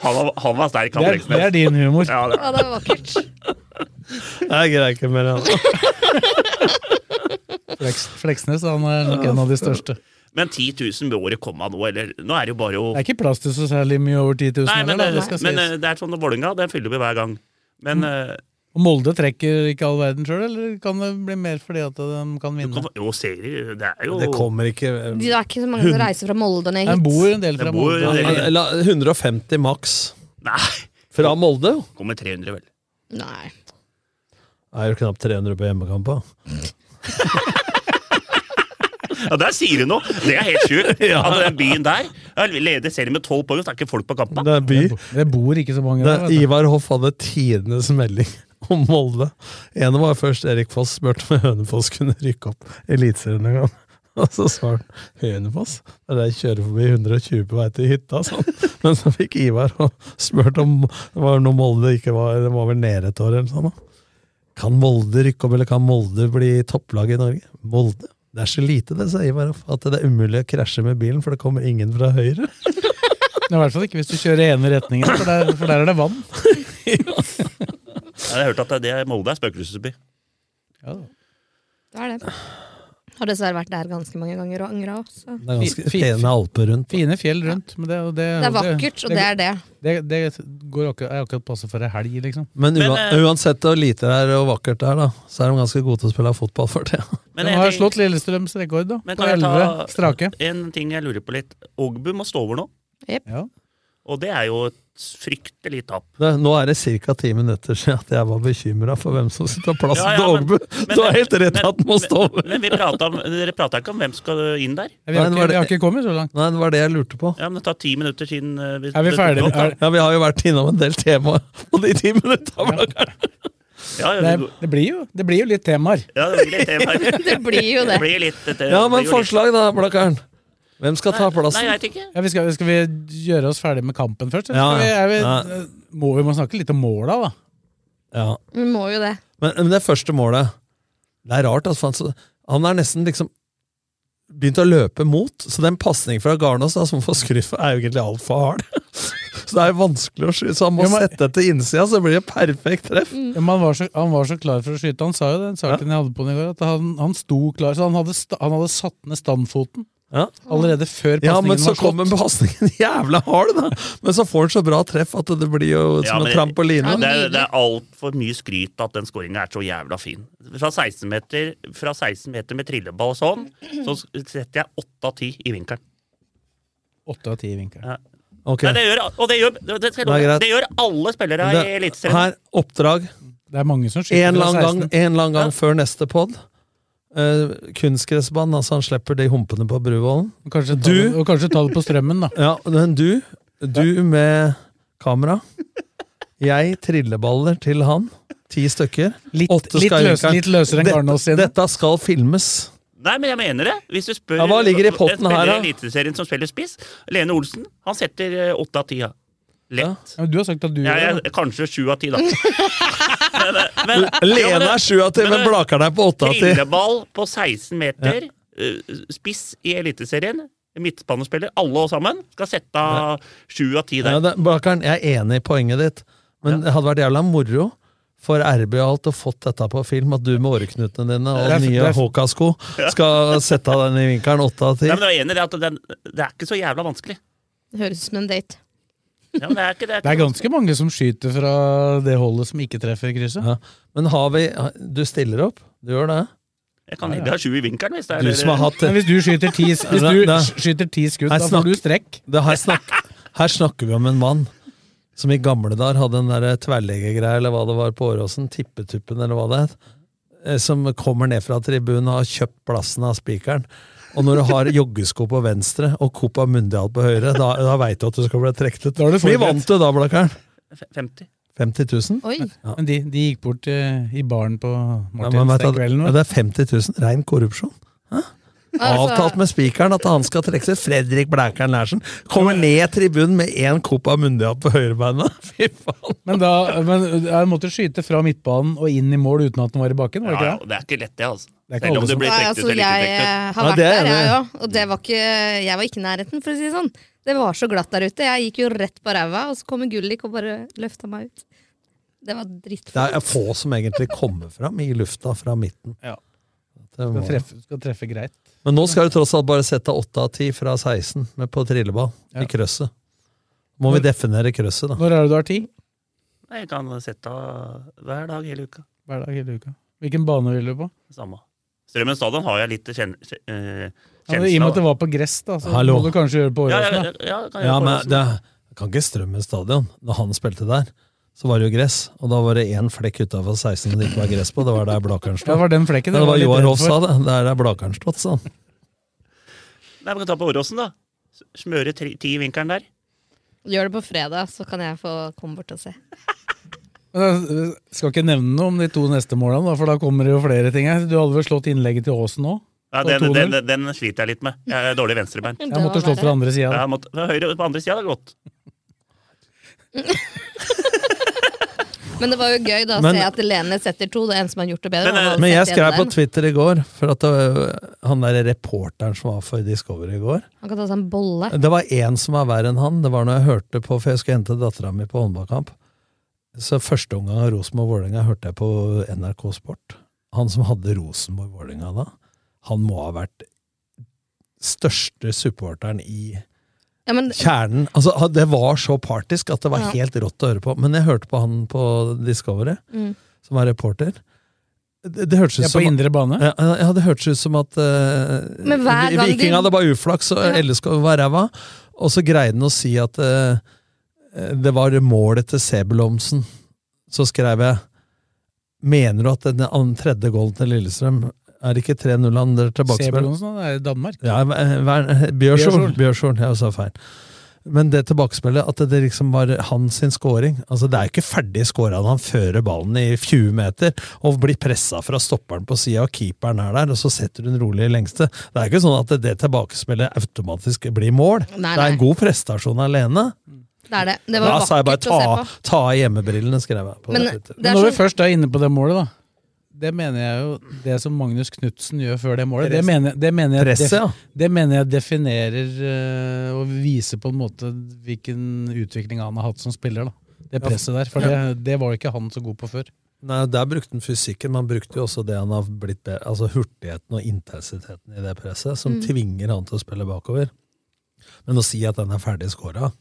Han var, han var sterk, han
Det er, det er
Fleksnes.
din humor.
Ja, det.
Ja, det var vakkert.
Jeg greier ikke mer. Altså.
Fleks, Fleksnes han er nok en av de største.
Men 10 000 bør året komme nå, eller Nå er det jo bare å
Det er ikke plass til så særlig mye over 10 000.
Nei, men,
heller, da,
det,
det skal
men
sies.
eh, det er sånn at Vålerenga, den fyller vi hver gang. Men eh,
Og Molde trekker ikke all verden sjøl, eller kan det bli mer fordi at de kan vinne?
kom- jo, serier Det er jo
Det kommer ikke eh.
Det er ikke så mange som reiser fra Molde ned
De
hit.
bor en del fra
Det bor en
Molde.
del.
Ja, la- 150 maks
Nei!
fra Molde. jo.
Kommer 300, vel.
Nei.
Det er jo knapt 300 på hjemmekamp. da.
Ja, Der sier du noe! Det er helt sjukt. At den byen der ja, leder serien med 12 poeng, og så er ikke folk på kampen.
Det er by.
Det bor ikke så mange
Det
der.
er,
vet du.
Ivar Hoff hadde tidenes melding om Molde. En var først Erik Foss spurte om Hønefoss kunne rykke opp Eliteserien en gang. Og så svarte han Hønefoss? Det er der jeg kjører forbi 120 på vei til hytta. sa han. Men så fikk Ivar og spurt om det var noe Molde ikke var, det var vel nede et år eller sånn. da. Kan Molde rykke opp, eller kan Molde bli topplag i Norge? Molde? Det er så lite, det, sa Ivar Hoff, at det er umulig å krasje med bilen, for det kommer ingen fra høyre.
I hvert fall ikke hvis du kjører ene retningen, for der, for der er det vann.
Jeg har hørt at det er Molde er spøkelsesby.
Ja, da.
Det er det. Har dessverre vært der ganske mange ganger og angra òg, så
Det er ganske
Fi- fi-
pene alper rundt.
Fine fjell rundt. Men det, og det,
Det er vakkert, og det er det.
det, det, går akkurat, er akkurat passe for ei helg, liksom.
Men,
Men,
ua
eh,
uansett hvor lite det er og vakkert det er, da, så er de ganske gode til å spille fotball for det.
Men
de
en
har
ting-
slått Lillestrøms rekord, da.
Men
På
kan jeg ta-
elleve strake.
En ting jeg lurer på litt. Ogbu må stå over nå,
Ja.
og det er jo et fryktelig tap.
det. Nå er det ca. ti minutter siden at jeg var bekymra for hvem som skulle ta plassen
Ja, ja,
til
men-
Ågbu.
men-
Du har helt rett i at den må stå over.
Men vi pratet om, dere prata ikke om hvem skal inn der?
Vi har, ikke,
Nei, det var
vi har
det-
ikke kommet så langt.
Nei, det var det jeg lurte på.
Ja, men Det tar ti minutter siden eh, vi,
Er vi ferdige?
det-
Er,
Ja, Vi har jo vært innom en del temaer på de ti minuttene.
Ja, ja,
det,
vi-
det, blir jo, det blir jo litt temaer.
ja, det blir litt tema.
Det blir jo
Det
det.
blir litt det- det
Ja,
blir
men
jo litt-
forslag, da, Blakkaren. Hvem skal ta
Nei,
plassen?
jeg vet ikke.
Ja, vi skal, skal vi gjøre oss ferdig med kampen først?
Ja,
Eller skal vi, er vi,
ja.
må, vi må snakke litt om måla, da.
Ja.
Vi må jo det.
Men, men det første målet Det er rart, altså. for han så- Han er nesten liksom begynt å løpe mot, så den pasningen fra Garnås da, som får skryt for, er jo egentlig altfor hard. Så det er jo vanskelig å skyte, så han må
Ja, men- Mm.
sette etter innsida, så blir det perfekt treff.
Ja, men han, var så, han var så klar for å skyte. Han sa jo den saken jeg hadde på den i går, at han, han sto klar. Så han hadde, sta, han hadde satt ned standfoten
Ja.
allerede før
Ja, men
pasningen
så
var slått.
kommer pasningen jævla hard, da! Men så får han så bra treff at det blir jo
Ja,
som
men-
en trampoline.
Det er, det er altfor mye skryt av at den skåringa er så jævla fin. Fra 16 meter, fra 16 meter med trilleball og sånn, så setter jeg 8 av 10 i vinkelen.
Åtte av ti i vinkelen.
Ok,
Nei, det gjør, og det gjør, det, skal jeg
Det er
love.
greit.
det gjør alle spillere i
Det-
Eliteserien.
Her, oppdrag.
Det er mange som skyter
En eller
fra
annen gang,
16.
en eller annen gang før neste pod. Uh, kunstgressbanen, altså han slipper de humpene på Bruvollen.
Og Kanskje ta,
Du-
det, og kanskje ta det på strømmen, da.
Ja, men du, du med kamera. Jeg trilleballer til han. Ti stykker.
Litt,
Åtte
litt,
skal i
løs,
vinkelen.
litt løsere enn Garnås
Dette,
sine.
dette skal filmes.
Nei, men jeg mener det. Hvis du spør
Ja, hva ligger i potten
en spiller
her, da?
i Eliteserien som spiller spiss, Lene Olsen, han setter eh, åtte av ti. ja. Lett.
Ja, men du har sagt at du
Ja,
gjør det.
jeg, kanskje sju av ti, da. Men, eh, men- ja, men
Lene
det-
er sju av ti, men
det-
Blakeren er på åtte av ti.
Trilleball på 16 meter, eh, spiss i Eliteserien, midtbanespiller, alle sammen, skal sette av sju av ti
Ja,
der.
det- Blakeren, jeg er enig i poenget ditt, Men det hadde vært jævla moro for RB og alt å fått dette på film, at du med åreknutene dine og
Det er- det
nye
er-
HK-sko skal sette av den i vinkelen åtte av ti.
Nei, men jeg er enig i det at den, det er ikke så jævla vanskelig.
Det høres ut som en date.
Ja, men det er ikke det.
Det er ganske mange som skyter fra det holdet som ikke treffer krysset.
Men har vi Du stiller opp, du gjør det?
Jeg kan heller ha sju i vinkelen hvis det er
Du som har hatt
Men hvis du skyter ti, hvis
Nei,
du
nei.
skyter ti skudd,
Her
da får
snakk-
du strekk.
Det her, snakk, her snakker vi om en mann som i gamle dager hadde den der tverrleggergreia eller hva det var på Åråsen, tippetuppen eller hva det het, eh, som kommer ned fra tribunen og har kjøpt plassen av spikeren. Og når du har joggesko på venstre og Copa Mundial på høyre, da, da veit du at du skal bli trukket ut.
du
Vi
forberedt.
vant du da, Blakkaren.
F- 50.
50 000?
Oi.
Ja.
Men de, de gikk bort eh, i baren på
Ja, men vet du
Martins den
at-
kvelden. vet
ja,
du.
det er 50 000. Rein korrupsjon. Hæ?
Altså-
Avtalt med spikeren at han skal trekke seg. Fredrik Blækern Lærsen kommer ned tribunen med én Copa Mundial på høyrebeinet. Fy faen!
Men da men jeg måtte skyte fra midtbanen og inn i mål uten at den var i bakken, var det
Ja,
ikke
og det er ikke lett, det, altså.
Det er ikke
Selv om
alle
det
som-
blir
Nei,
trukket ut
altså,
eller
jeg eh,
ikke trukket
har
Ja,
vært
det er
der, jeg
enig.
òg. Og det var ikke, jeg var ikke i nærheten, for å si det sånn. Det var så glatt der ute. Jeg gikk jo rett på ræva, og så kommer Gullik og bare løfta meg ut. Det var
Det
drittflaut.
er få som egentlig kommer fram i lufta fra midten.
Ja.
Det
det?
må-
Skal treffe, skal treffe greit.
Men nå skal du tross alt bare sette åtte av ti fra 16 med på trilleball
Ja.
i krøsset. Må vi definere krøsset, da?
Når er det du har tid?
Nei, Jeg kan sette av hver dag hele uka.
Hver dag hele uka. Hvilken bane vil du på?
Samme. Strømmen stadion har jeg litt kjen, kjen, eh,
Ja, men I og med at
kjensla
det var på gress, da, så
Hallo.
må du kanskje gjøre det på
av. Ja, ja, ja,
Åråsen. da.
ja, kan jeg
Ja,
få
men
det
det jeg kan ikke Strømmen stadion. Når han spilte der, så var det jo gress. Og da var det én flekk utafor 16 det ikke var gress på. Det var der
Ja,
Blakeren
Det
stod.
var den flekken.
Men det
jeg
var
litt
Joar
redd
Hoff
for.
sa det. Det er der Blakeren stod, sa han.
også. Nei, Vi kan ta på Åråsen, da. S- Smøre tri, ti i vinkelen der.
Gjør det på fredag, så kan jeg få komme bort og se.
Men jeg skal ikke nevne noe om de to neste målene, da, for da kommer det jo flere ting her. Du hadde vel slått innlegget til Aasen òg?
Ja,
Og
den,
2-0.
den, den sliter jeg litt med. Jeg er dårlig venstrebein.
Det
Jeg
var
måtte slått
verre.
fra andre sida.
Jeg måtte, fra høyre på andre sida hadde det gått.
Men det var jo gøy da å
Men-
se at Lene setter to. Det er en som har gjort det bedre.
Men, eh,
han hadde
Men jeg
sett igjen
skrev på
der.
Twitter i går, for at det, han der reporteren som var for Discovery i går
Han kan ta seg en bolle.
Det var én som var verre enn han. Det var når jeg hørte på, for jeg skulle hente dattera mi på håndballkamp. Så første omgang av Rosenborg-Vålerenga hørte jeg på NRK Sport. Han som hadde Rosenborg-Vålerenga da, han må ha vært største supporteren i
Ja, men,
kjernen. Altså, ha- det var så partisk at det var
Ja.
helt rått å høre på. Men jeg hørte på han på Discovery,
Mm.
som var reporter. Det, det hørtes
Ja, på
ut som
indre bane.
ja, ja, det hørtes ut som at eh,
Men hver
vi-
gang de-
Viking hadde bare uflaks, og
Ja.
LSK var ræva. Og så greide han å si at eh, det var målet til Sebulomsen. Så skrev jeg Mener du at den an- tredje golden til Lillestrøm er ikke 3-0 han dere tilbakespill?
Sebulonsen det er i Danmark.
Ja, eh, hva- hva- Bjørsol.
Bjørsol.
Bjørsol, jeg sa feil. Men det tilbakespillet, at det liksom var hans sin scoring altså Det er jo ikke ferdig scora når han fører ballen i 20 meter og blir pressa fra stopperen på sida, og keeperen er der, og så setter hun rolig i lengste. Det er ikke sånn at det tilbakespillet automatisk blir mål.
Nei,
Det er
nei.
en god prestasjon alene.
det er det. Det var
Da sa jeg bare
vakkert å se
ta,
på.
ta av hjemmebrillene, skrev jeg. på
Men
det Twitter.
det
Men
er sånn-
når vi
så,
først er inne på det målet, da. Det mener jeg jo Det som Magnus Knutsen gjør før det målet, det mener, det mener, jeg,
Presset, ja.
det mener jeg definerer eh, og viser på en måte hvilken utvikling han har hatt som spiller. da Det presset der. For det, det var jo ikke han så god på før.
Nei, Der brukte han fysikken, men han brukte jo også det han har blitt bedre, altså hurtigheten og intensiteten i det presset, som
Mm.
tvinger han til å spille bakover. Men å si at den er ferdig scora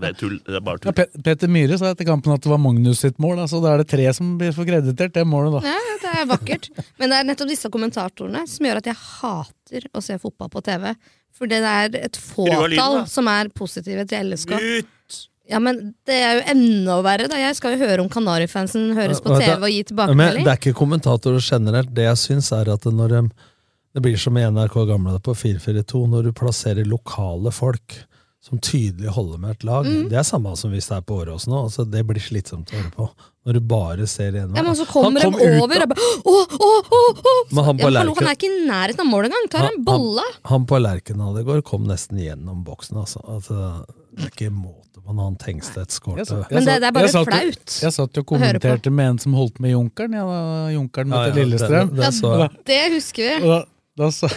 Det er, tull, det er bare
Ja,
tull.
Pe- Petter Myhre sa etter kampen at det var Magnus sitt mål, da, så da er det tre som blir forkreditert det målet. da
ja, det er vakkert. Men det er nettopp disse kommentatorene som gjør at jeg hater å se fotball på TV. For det er et
Skru av lyden,
fåtall
da.
som er positive til LSK.
Ut!
Ja, men det er jo enda verre, da. Jeg skal jo høre om Kanarifansen høres på TV og gi
Men
tilbakemelding.
eh, det er ikke kommentatorer generelt. Det jeg syns, er at når de Det blir som i NRK gamle dager på 442, når du plasserer lokale folk som tydelig holder med et lag.
Mm.
Det er samme som hvis det er på Åråsen nå. Altså, det blir slitsomt å høre på. Når du bare ser én vei.
Ja, men så kommer
Han
de
kom ut
over og bare Å, å, å! å.
Men han på
Ja, hallo,
Lerken-
han er ikke i nærheten av mål engang! Tar en bolle!
Han, han på Lerkendal i går kom nesten gjennom boksen, altså. altså det er ikke måte på når han
Jeg
Tengstedt skårte.
satt- jeg
Ja,
Men det-
satt-
det er bare
jeg satt-
flaut
Jeg satt jo og
å høre på.
kommenterte med en som holdt med Junkeren. Ja, da, junkeren mot
ja,
Lillestrøm.
Det, det så jeg.
Det husker vi.
Og da, da, sa-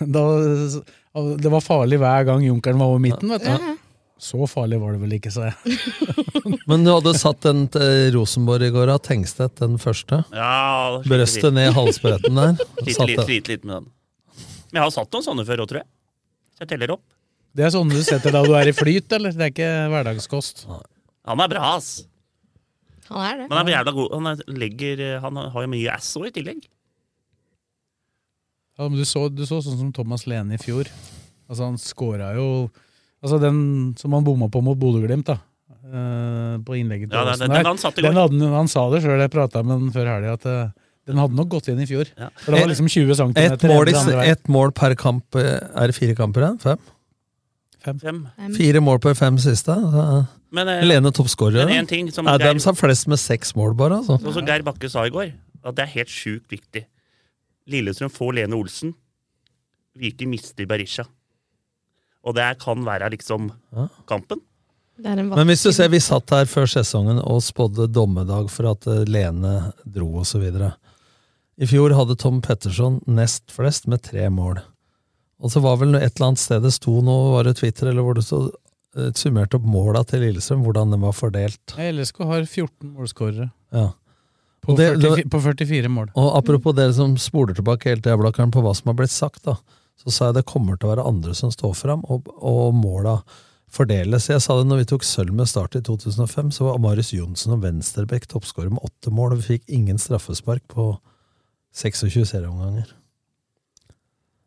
da, det var farlig hver gang Junkeren var over midten, vet du. Så farlig var det vel ikke, sa jeg.
Men du hadde satt den til Rosenborg i går av Tengstedt, den første.
Ja, sliter
Brøstet
litt.
ned halsbretten der.
Sliter
Satt
litt,
det.
sliter litt med den. Men jeg har satt noen sånne før òg, tror jeg. Så jeg teller opp.
Det er sånne du setter da du er i flyt, eller? Det er ikke hverdagskost.
Han er bra, ass.
Han er det.
Men han er jævla god. Han, er, legger, eh, han har jo mye ass også i tillegg.
Ja, men du, så, du så sånn som Thomas Lene i fjor. Altså, han scora jo Altså, den som han bomma på mot Bodø-Glimt, da. eh, på innlegget til
Ja, den-
Åsen
den-
der.
den han satt i går.
den hadde, han sa det sjøl, jeg prata med han før helga, at eh, den hadde nok gått inn i fjor. For det var liksom 20 cm
Et mål, i- et mål per kamp eh, er det fire kamper igjen? Fem?
Fem.
Fire mål på fem siste. så-
Men, eh,
Lene toppskårer.
men
da.
en ting som
Nei,
Geir-
dem som har flest med seks mål, bare. Altså.
Og Sånn som Geir Bakke sa i går, at det er helt sjukt viktig. Lillestrøm får Lene Olsen. Viking mister Berisha. Og det kan være liksom kampen.
Det er en
Men hvis du ser, vi satt her før sesongen og spådde dommedag for at eh, Lene dro osv. I fjor hadde Tom Petterson nest flest med tre mål. Og så var vel et eller annet sted det sto nå, var det Twitter, eller hvor det stod, eh, summerte opp måla til Lillestrøm, hvordan den var fordelt.
LSK har 14 målskårere.
Ja.
På
Og det-
44 på 44 mål.
Og apropos dere som spoler tilbake hele tida, Blakkaren, på hva som har blitt sagt, da, så sa jeg det kommer til å være andre som står fram, og, og måla fordeles. Jeg sa det når vi tok sølv med start i 2005, så var Marius Johnsen og Venstrebekk toppskårer med åtte mål, og vi fikk ingen straffespark på 26 serieomganger.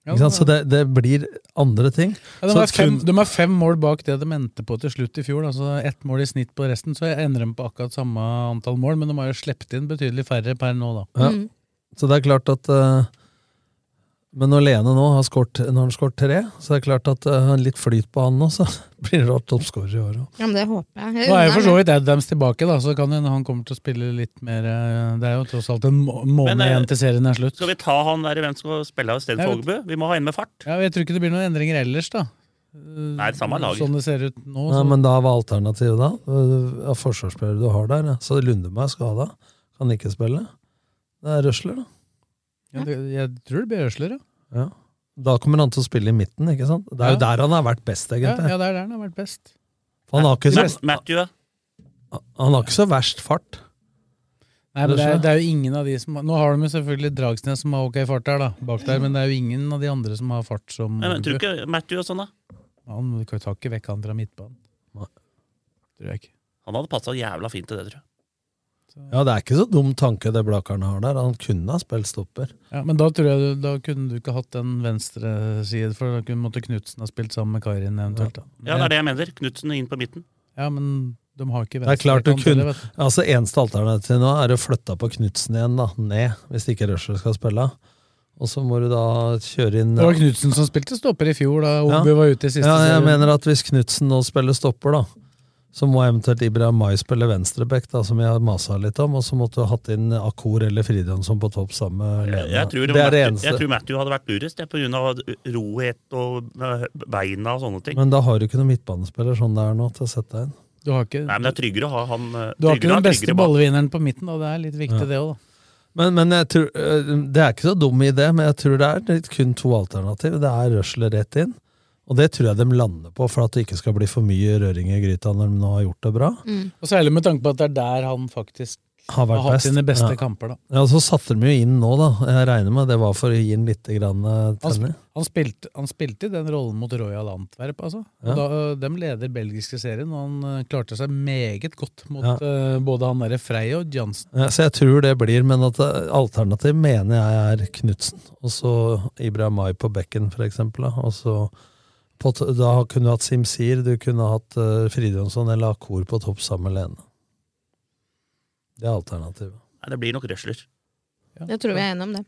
Ja,
Ikke sant? Så det, det blir andre ting.
Ja, de,
Så
er fem,
kun-
de er fem mål bak det de endte på til slutt i fjor. da, så det er ett mål i snitt på resten, så jeg endrer dem på akkurat samme antall mål, men de har jo sluppet inn betydelig færre per nå, da.
Ja. Så det er klart at eh, Men når Lene nå har skårt, når han skåret tre, så er det klart at eh, litt flyt på han nå, så blir det rart toppskårer i år òg.
Ja, men det håper jeg. jeg.
Nå er jo
unner
for så
ham det.
vidt Adams tilbake, da, så kan hende han kommer til å spille litt mer eh, Det er jo tross alt en må- måned
Men, eh,
igjen til serien er slutt.
Skal vi ta han der hvem skal spille av
Jeg
istedenfor
vet-
Ågebø? Vi må ha en med fart.
Ja, jeg tror ikke det blir noen endringer ellers, da.
Nei, det samme laget.
Sånn det ser ut nå.
Nei,
så-
men da var alternativet da eh, av forsvarsspillere du har der. ja. Så Lundeberg skada. Kan ikke spille. Det er røsler, da.
Ja, det, jeg tror det blir Øsler, ja.
Ja. Da kommer han til å spille i midten, ikke sant? Det er jo
Ja.
der han har vært best,
ja.
egentlig.
Ja, det er der han har vært best.
For han, har ikke
Matt,
så,
Matthew, ja.
han har ikke så verst fart.
Nei, men det er,
Øsler.
det er jo ingen av de som Nå har de jo selvfølgelig Dragsnes som har ok fart der, da, bak der, men det er jo ingen av de andre som har fart som
Nei, men tror du ikke Matthew og sånn, da?
Han du kan jo ta ikke vekk han fra midtbanen.
Nei.
Tror jeg ikke.
Han hadde passa jævla fint til det, tror jeg.
Ja, det er ikke så dum tanke det Blakaren har der. Han kunne ha spilt stopper.
Ja, men da tror jeg du, da kunne du ikke hatt den venstre side, for da kunne måtte Knutsen ha spilt sammen med Karin eventuelt. Da.
Ja, det er det jeg mener. Knutsen inn på midten.
Ja, men de har ikke
Det er klart du
venstrekant heller,
kunne
vet du.
Altså Eneste alternativ nå er å flytte på Knutsen igjen, da, ned, hvis ikke Røsler skal spille. Og så må du da kjøre inn
Det var Knutsen som spilte stopper i fjor, da Obu var ute i siste
ja, jeg
serien.
mener at hvis Knutsen nå spiller stopper, da, så må eventuelt Ibrahim Mai spille venstreback, da, som jeg har masa litt om, og så måtte du ha hatt inn Akur eller Fridjonsson på topp sammen med Lene.
Jeg tror,
det er det
Matthew,
eneste.
jeg tror Matthew hadde vært lurest, det, på grunn av rohet og eh, beina og sånne ting.
Men da har du ikke noen midtbanespiller sånn det er nå, til å sette deg inn.
Du har ikke,
Nei, men det er tryggere å ha han eh,
du har ikke
tryggere å ha
den beste
tryggere bak.
ballvinneren på midten, da. Det er litt viktig,
Ja.
det òg, da.
Men, men jeg tror, øh, det er ikke så dum idé, men jeg tror det er litt kun to alternativ. Det er røsler rett inn, og det tror jeg de lander på, for at det ikke skal bli for mye røring i gryta når de nå har gjort det bra.
Og særlig med tanke på at det er der han faktisk
Har
har
vært
hatt
best.
sine beste
Ja.
kamper, da.
Ja, Så satte de jo inn nå, da. Jeg regner med det var for å gi den litt grann eh,
Han,
tenning.
sp- han, spilte, han spilte i den rollen mot Royal Antwerp, altså.
Ja.
Og Da, ø, de leder belgiske serien, og han ø, klarte seg meget godt mot
Ja.
ø, både han derre Frey og Jansen.
Ja, Så jeg tror det blir, men at eh, alternativ mener jeg er Knutsen. Og så Ibrahim Mai på bekken, for eksempel. da. Og så på, t- da kunne du hatt Simsir, du kunne hatt uh, Fridjonsson eller Akor på topp sammen med Lene. Det er alternativet.
Nei, det blir nok røsler.
Ja.
Jeg tror vi er enige om det.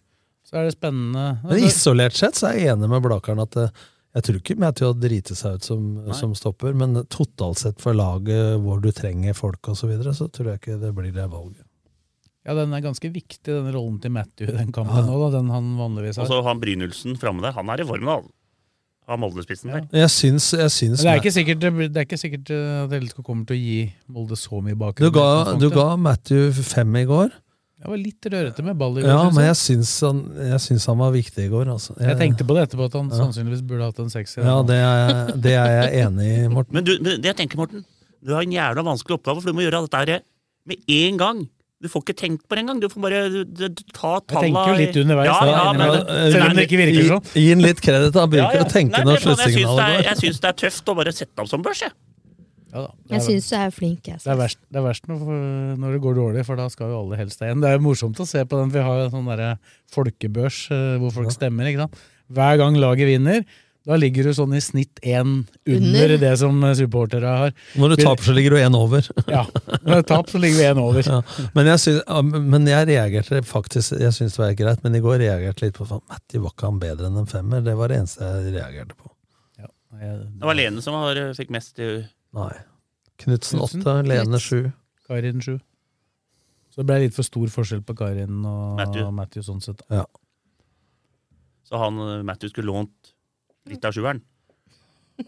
Så er det spennende.
Men isolert sett så er jeg enig med Blakaren at eh, jeg tror ikke Matthew har driti seg ut som, som stopper, men totalt sett for laget hvor du trenger folk osv., så, videre, så tror jeg ikke det blir det valget.
Ja, den er ganske viktig, den rollen til Matthew i den kampen nå, da. Den han vanligvis
Og
har.
så han Brynildsen framme der, han er i form da. Han Molde-spissen der.
Jeg syns, jeg syns
Men det er ikke sikkert, det blir- det er ikke sikkert ø, at LSK kommer til å gi Molde så mye
Du
bakgrunn. i
ga, du
utgangspunktet.
ga Matthew fem i går.
Jeg var litt rørete med ball i går.
Ja,
synes
men
jeg.
jeg syns han, jeg syns han var viktig i går. Altså.
Jeg tenkte på det etterpå, at han
Ja.
sannsynligvis burde hatt en sekser.
Ja, det er, jeg- det er jeg enig i, Morten.
Men du, men det jeg tenker, Morten, du har en jævla vanskelig oppgave, for du må gjøre dette her med en gang. Du får ikke tenkt på det engang. Du får bare du, du, du, ta talla
tenker jo litt underveis,
Ja,
da,
ja,
innimellom.
men,
Selv om det ikke virker sånn.
Gi, gi han litt kreditt. Han bruker
Ja, ja.
å tenke
Nei,
når
det er sånn, jeg syns det er-
sluttsignalet
Jeg syns det er tøft å bare sette ham som børs, jeg.
Jeg syns du er flink, jeg.
Det er verst, det er verst når, når det går dårlig, for da skal jo alle helst deg igjen. Det er jo morsomt å se på den, for vi har jo en sånn derre folkebørs eh, hvor folk stemmer. ikke sant? Hver gang laget vinner, da ligger du sånn i snitt én under,
Under.
det som eh, supportere har.
Når du
Vi-
taper, så ligger du én over.
Ja, når du taper, så ligger vi én over.
Ja, men, jeg syns- ja, men jeg reagerte faktisk Jeg syns det var greit, men i går reagerte jeg litt på faen, Matti, var ikke han bedre enn en femmer? Det var det eneste jeg reagerte på.
Det var Lene som var, fikk mest eh, i
Nei. Knutsen åtte, Lene sju.
Karin sju. Så det ble litt for stor forskjell på Karin og
Matthew.
Matthew, sånn sett.
Ja.
Så han eh, Matthew skulle lånt litt av sjueren.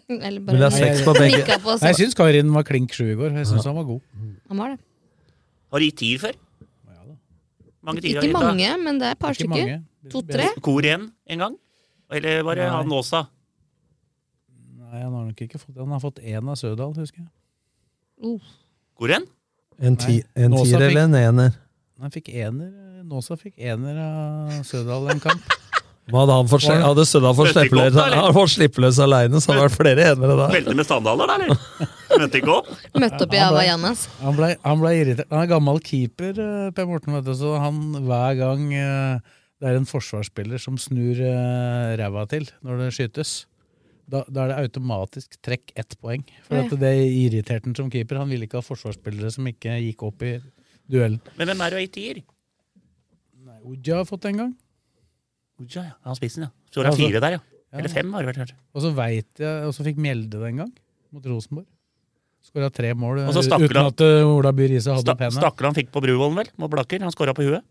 Eller
Vil
bare
jeg ha seks på
begge?
nikka på
Nei, jeg syns Karin var klink sju i går. Jeg syns han var god.
Han var det.
Har de gitt tier før? Mange tier har
Ikke
gitt, da.
mange, men det er et par
Ikke
stykker.
mange.
To-tre.
Kor igjen en gang? Eller var det
Nei.
han Åsa?
Nei, han har nok ikke fått Han har fått én av Sødal, husker jeg.
Kor igjen?
En, ti,
Nei,
en
Nåsa
tier
fikk-
eller en ener?
Han fikk ener. Nåsa fikk ener av Sødal en kamp.
Hva hadde han for,
Var det-
hadde Sødal fått
Møtte ikke
slippe
opp,
løs,
da, eller?
han fått slippe løs alene, så hadde det vært flere enere da.
Velte med sandaler, da, eller? Møtte ikke opp?
Møtte opp i
Han ble-
Havaianas.
Han ble, han ble irritert. Han er gammel keeper, eh, Per Morten, vet du, så han hver gang eh, det er en forsvarsspiller som snur eh, ræva til når det skytes, da, da er det automatisk trekk ett poeng. For
Ja.
at det irriterte han som keeper. Han ville ikke ha forsvarsspillere som ikke gikk opp i duellen.
Men hvem er det å ha gitt tier?
Oja har fått det en gang.
Oja, ja. Han spissen, ja. Så var det fire der, ja. Eller fem, har det vært. kanskje.
Og så vet jeg, og så fikk Mjelde det en gang, mot Rosenborg. Skåra tre mål
Og
eh,
så stakkar
uten
han-
at eh, Ola By Riise hadde
Sta
penna.
Stakkar han fikk på Bruvollen, vel? Mot Blakker. Han skåra på huet.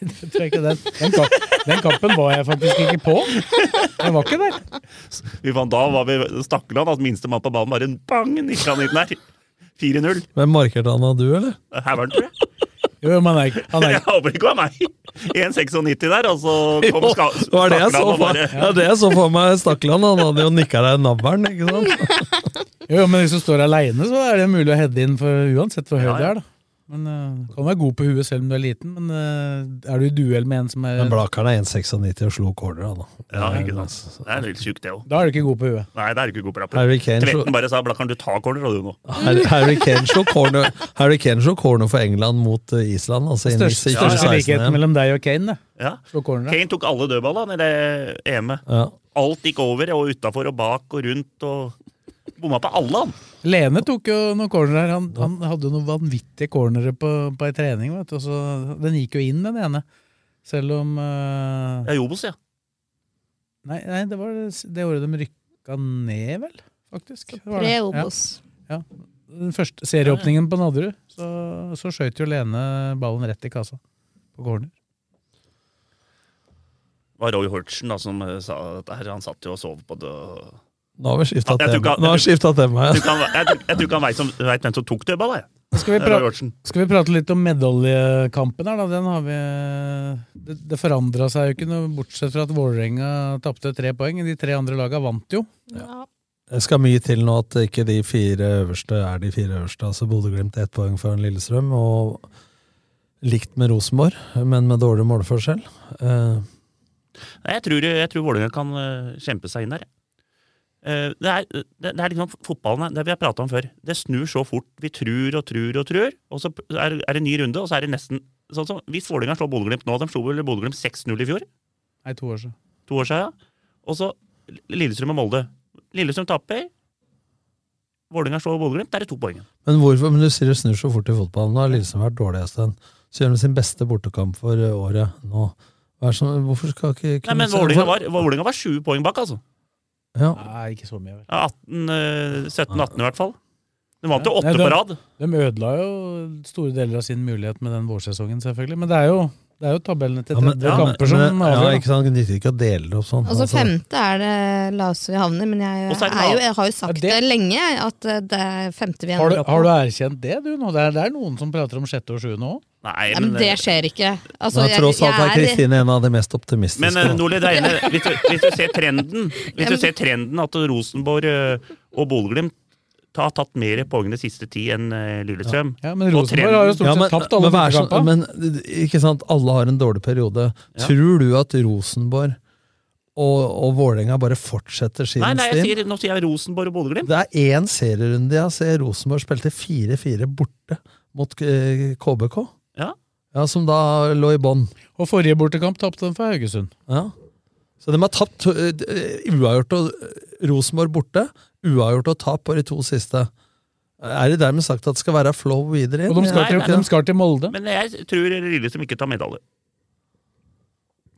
Jeg tror ikke Den, den, kamp, den kampen var jeg faktisk ikke på. Jeg var ikke der.
Vi fant, da var vi Stakkar han, at minste mann på banen bare en bang, nikka han inn der. 4-0.
Men Eh, markerte han av du, eller?
Her var han, tror jeg.
Jo, men han er, ikke- han er,
Jeg håper ikke det var meg. 1,96 der, og så
Jo,
kom ska
det var det jeg
Stakkeland
så
og
for,
bare-
ja, det jeg så for meg Stakkeland. Han hadde jo nikka deg i navlen, ikke sant?
jo, men hvis du står aleine, så er det mulig å heade inn for uansett hvor høy
Ja,
du
ja.
er. da. Men eh, Kan være god på huet selv om du er liten, men eh, er du i duell med en som er
Men Blakeren er 1,96 og slo corner, han da. Eh,
Ja, ikke sant. Det er litt sjukt, det òg.
Da er du ikke god på huet.
Nei, det er ikke god på
Harry Kane slo-
Tvetten bare sa 'Blakkaren, du tar corner', og du nå.
Harry- Harry Kane slo corner, Harry Kane slo corner for England mot eh, Island, altså inn i
Største,
i
største
16, ja.
likheten mellom deg og Kane, det.
Ja.
Slå corneret.
Kane tok alle dødballene i det E EM-et.
Ja.
Alt gikk over og utafor og bak og rundt og Bomma på alle, han.
Lene tok jo noen cornerer. Han, han hadde jo noen vanvittige cornere på, på ei trening. Vet du. og så- den gikk jo inn, den ene. Selv om eh,
Ja, Jobos, ja.
nei, nei, det var det året de rykka ned, vel? Faktisk. Det var det.
Tre Obos.
Ja. ja. Den første serieåpningen på Nadderud, så, så skjøt jo Lene ballen rett i kassa. På corner.
Det var Roy Hortsen da, som eh, sa dette her. Han satt jo og sov på det.
Nå har vi skifta
Jeg tror
tema.
ikke han-
Nå har vi skiftet tema,
Jeg
ja.
tror ikke han- jeg tror- jeg tror ikke han veit som- veit hvem som tok dødball, jeg.
Skal vi,
Roy
pra
Hortsen.
skal vi prate litt om medaljekampen her, da? Den har vi Det, det forandra seg jo ikke noe, bortsett fra at Vålerenga tapte tre poeng. De tre andre laga vant jo.
Det skal mye til nå at ikke de fire øverste er de fire øverste. Altså Bodø-Glimt ett poeng foran Lillestrøm, og likt med Rosenborg, men med dårlig målforskjell. Eh,
Nei, Jeg tror, jeg tror Vålerenga kan eh, kjempe seg inn der. jeg. Eh, Det er, det, det er liksom fotballen, det vi har prata om før. Det snur så fort. Vi tror og tror og tror, og så er, er det en ny runde, og så er det nesten sånn som Hvis Vålerenga slår Bodø-Glimt nå, de slo vel Bodø-Glimt 6-0 i fjor?
Nei, to år siden.
To år siden, ja. Og så Lillestrøm og Molde. Lillestrøm taper. Vålerenga slår Bodø-Glimt, der er det to poeng.
Men hvorfor, men du sier det snur så fort i fotballen. Nå har Lillestrøm vært dårlig en stund. Så gjør de sin beste bortekamp for eh, året nå. Hva er det som, hvorfor skal ikke
Nei, men Vålerenga var, Vålerenga var sju poeng bak, altså.
Ja.
Nei, ikke så mye, vel.
Ja, 18, eh, 17-18 i hvert fall. De vant jo
Nei,
åtte
de-
på rad.
De ødela jo store deler av sin mulighet med den vårsesongen, selvfølgelig. Men det er jo, det er jo tabellene til
Ja, men-
tredje kamper som
men- ja,
avgjør.
ikke sant? Det nytter ikke å dele det opp sånn.
Altså
Altså,
femte er det laveste vi havner, men jeg,
Og så er det
er jo,
lav-
jeg har jo sagt det lenge, at eh, det er femte vi
da. har,
ender
du,
opp
har du
med.
erkjent det, du? nå? Det er, det er noen som prater om sjette og sjuende òg.
Nei, eh,
Nei, men det skjer ikke. Altså,
Men
jeg-
tross alt
jeg
er Kristine en av de mest
Men
optimistiske.
eh, Nordli, det er enig. hvis, du, hvis du ser trenden Hvis du ser trenden at Rosenborg eh, og Bodø-Glimt har tatt mer poeng de siste ti enn eh, Lillestrøm
Ja, men
Og
Rosenborg
trenden-
har jo stort
Ja,
sett
men,
tapt alle
men, vær så-
bortekampene.
men ikke sant, alle har en dårlig periode.
Ja.
Tror du at Rosenborg og, og Vålerenga bare fortsetter sin
Nei, nei, jeg
stil?
sier, nå sier jeg Rosenborg og Bodø-Glimt.
Det er én serierunde jeg ser Rosenborg spilte 4-4 borte mot eh, KBK.
Ja.
Ja, Som da lå i bånn.
Og forrige bortekamp tapte de for Haugesund.
Ja. Så de har tapt eh, uavgjort og eh, Rosenborg borte. Uavgjort og tap på de to siste. Er det dermed sagt at det skal være flow videre?
Og de skal, til, de skal til Molde.
Men jeg tror Lillestrøm ikke tar medalje.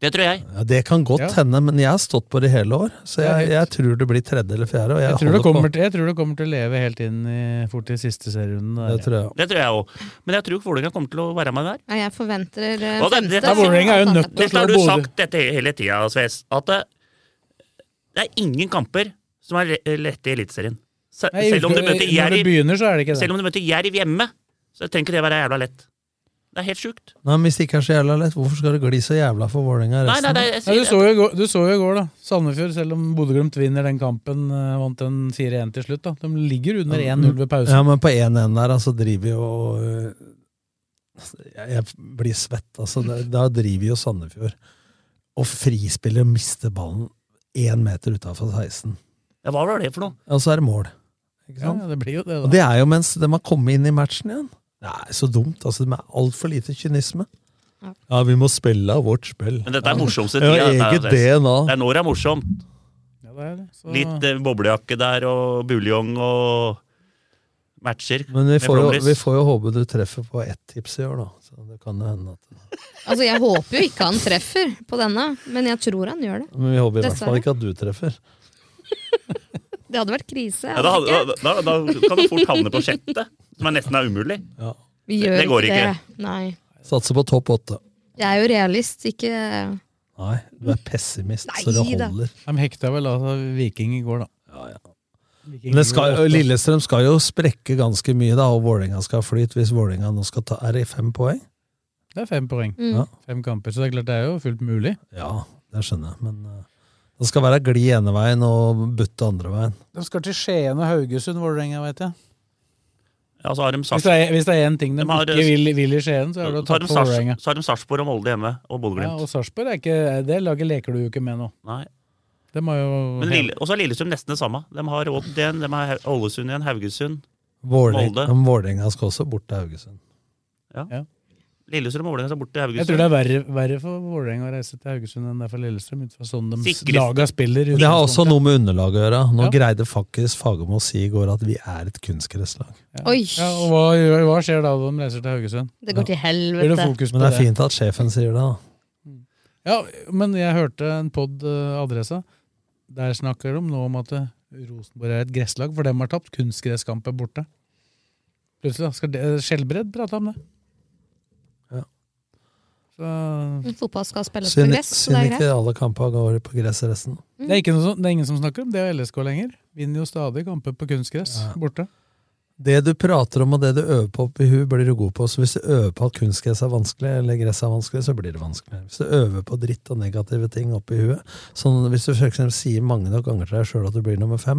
Det tror jeg.
Ja, det kan godt
Ja.
hende, men jeg har stått på det hele år.
Det
Så
er
jeg,
helt-
jeg tror det blir tredje eller fjerde. Og jeg,
Jeg tror, det
holder
kommer
på.
til, jeg tror det kommer til å leve helt inn i, fort til siste serierunden. der,
Det
ja.
tror jeg.
Det tror jeg også. Men jeg tror ikke Vålerenga kommer til å være med der.
Nei, jeg forventer eh,
Og det-
femte.
dette er
Vålerenga er jo nødt til å
Dette har
slå
du
Bodø.
sagt dette hele tida, Sves. At det, det er ingen kamper som er le- lette i Eliteserien. Se-
Nei,
Selv om du møter
Når det
Jerv
begynner, så er det ikke det.
Selv om du møter Jerv hjemme, så trenger ikke det være jævla lett. Det er helt sjukt.
Nei, men Hvis det ikke er så jævla lett, hvorfor skal det gli så jævla for
Nei,
Vålerenga
nei,
resten?
nei, jeg
Nei, du,
sier
så jo, i går- du så jo i går, da. Sandefjord, selv om Bodø-Glimt vinner den kampen, eh, vant den 4-1 til slutt. da. De ligger under 1-0 ved pausen.
Ja, men på 1-1 der, altså, driver jo øh, jeg, jeg blir svett, altså. Da, da driver jo Sandefjord og frispiller og mister ballen én meter utafor 16.
Ja, Hva var det for noe?
Og så er det mål. Ikke
Ja,
sant?
det blir jo det, da.
Og det er jo mens de har kommet inn i matchen igjen. Det er så dumt. altså De er altfor lite kynisme. Ja, vi må spille av vårt spill.
Men dette er morsomste
Ja,
tida.
eget
dette er-
DNA.
Det er når det er morsomt.
Ja, det, er det. Så,
Litt eh, boblejakke der og buljong og matcher.
Men vi
med
får, jo,
flomlys.
vi får jo håpe du treffer på ett tips i år, da. Så det kan jo hende at
Altså, jeg håper jo ikke han treffer på denne, men jeg tror han gjør det.
Men vi håper i hvert
Dessverre.
fall ikke at du treffer.
Det hadde vært krise.
ja, da,
altså, ikke?
da, da, da kan du fort havne på sjette, som er nesten er umulig.
Ja.
Vi gjør
det går ikke.
det. Nei.
Satser på topp åtte.
Jeg er jo realist, ikke
Nei, du er pessimist, så det
Nei da.
holder.
de hekta vel altså Viking i går, da. Viking
Men det skal,
gjorde åtte.
Lillestrøm skal jo sprekke ganske mye, da, og Vålerenga skal flyte. Hvis Vålerenga nå skal ta Er det fem poeng?
Det er fem poeng.
Mm.
Ja.
Fem kamper, så det er klart det er jo fullt mulig.
Ja, det skjønner jeg, men eh, det skal være gli ene veien og butte andre veien.
De skal til Skien og Haugesund, Vålerenga, vet jeg.
Ja, så har de
Hvis det, er, hvis det er én ting de,
De har-
ikke vil, vil i Skien, så er det å tape for Vålerenga.
Sarpsborg- så har de Sarpsborg og Molde hjemme, og
Ja, og
Bodø-Glimt.
Sarpsborg er ikke Det laget leker du jo ikke med nå.
Nei.
De har jo
Men Lille- Og så er Lillestrøm nesten det samme. De har Odd igjen, de har Hau- Ålesund igjen, Haugesund.
Vålerenga
Molde.
men Vålerenga skal også bort til Haugesund.
Lillestrøm og Vålerenga skal bort til
Jeg tror
Haugesund.
det er verre, verre for Vålerenga å reise til Haugesund enn det er for Lillestrøm. ut fra sånn de
Sikrest.
laga spiller. i
Det har også
utgangspunktet.
noe med underlaget å gjøre. Nå
Ja.
greide faktisk Fagermo å si i går at vi er et kunstgresslag.
Oi!
Ja, og hva, gjør- hva skjer da når de reiser til Haugesund?
Det går til
Blir det
helvete.
fokus på
Men det er
det?
fint at sjefen sier det, da.
Ja, men jeg hørte en pod adressa. Der snakker de nå om at eh, Rosenborg er et gresslag, for dem har tapt kunstgresskamper borte. Plutselig da, skal det- Skjelbred prate om det.
Ja.
Så
Fotball skal spilles på
Siden
gress, så det
siden
er greit.
ikke alle kampene går på gress resten.
Det er, ikke noe, som- det er ingen som snakker om det og LSK lenger. Vinner jo stadig kamper på kunstgress
Ja.
borte.
Det du prater om og det du øver på oppi huet, blir du god på. Så hvis du øver på at kunstgress er vanskelig, eller gress er vanskelig, så blir det vanskelig. Hvis du øver på dritt og negative ting oppi huet, sånn hvis du for eksempel sier mange nok ganger til deg sjøl at du blir nummer fem,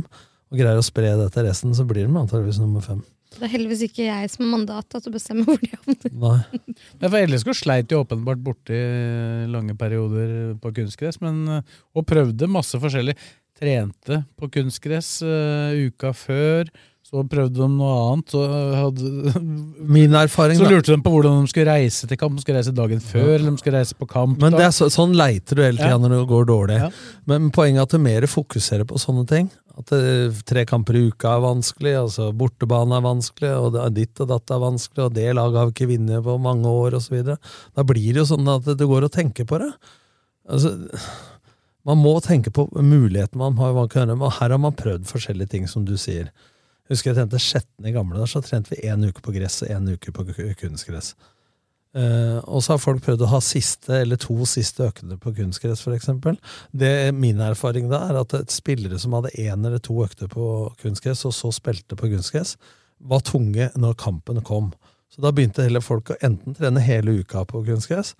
og greier å spre det til resten, så blir du antageligvis nummer fem.
Det er heldigvis ikke jeg som har mandat til å bestemme hvor de havner.
Nei.
Nei, for LSK sleit jo åpenbart borti lange perioder på kunstgress, men, eh, og prøvde masse forskjellig. Trente på kunstgress eh, uka før, så prøvde de noe annet. Så, eh, hadde,
Min erfaring,
så
da.
lurte de på hvordan de skulle reise til kamp. Om de skulle reise dagen før, eller om de skulle reise på kamp.
Men det
da.
er så, sånn leiter du hele tida
Ja.
når det går dårlig.
Ja.
Men poenget er at du mer fokuserer på sånne ting. At eh, tre kamper i uka er vanskelig, altså bortebane er vanskelig, og det er ditt og datt er vanskelig, og det laget har vi ikke vunnet på mange år, osv. Da blir det jo sånn at du går og tenker på det. Altså, man må tenke på muligheten man har. hva man kan gjøre, og Her har man prøvd forskjellige ting, som du sier. Jeg husker jeg trente Skjetten i gamle dager, så trente vi én uke på gress og én uke på ku- kunstgress. Eh, og så har folk prøvd å ha siste eller to siste økene på kunstgress, for eksempel. Det Min erfaring da er at et spillere som hadde én eller to økter på kunstgress, og så spilte på kunstgress, var tunge når kampen kom. Så da begynte heller folk å enten trene hele uka på kunstgress,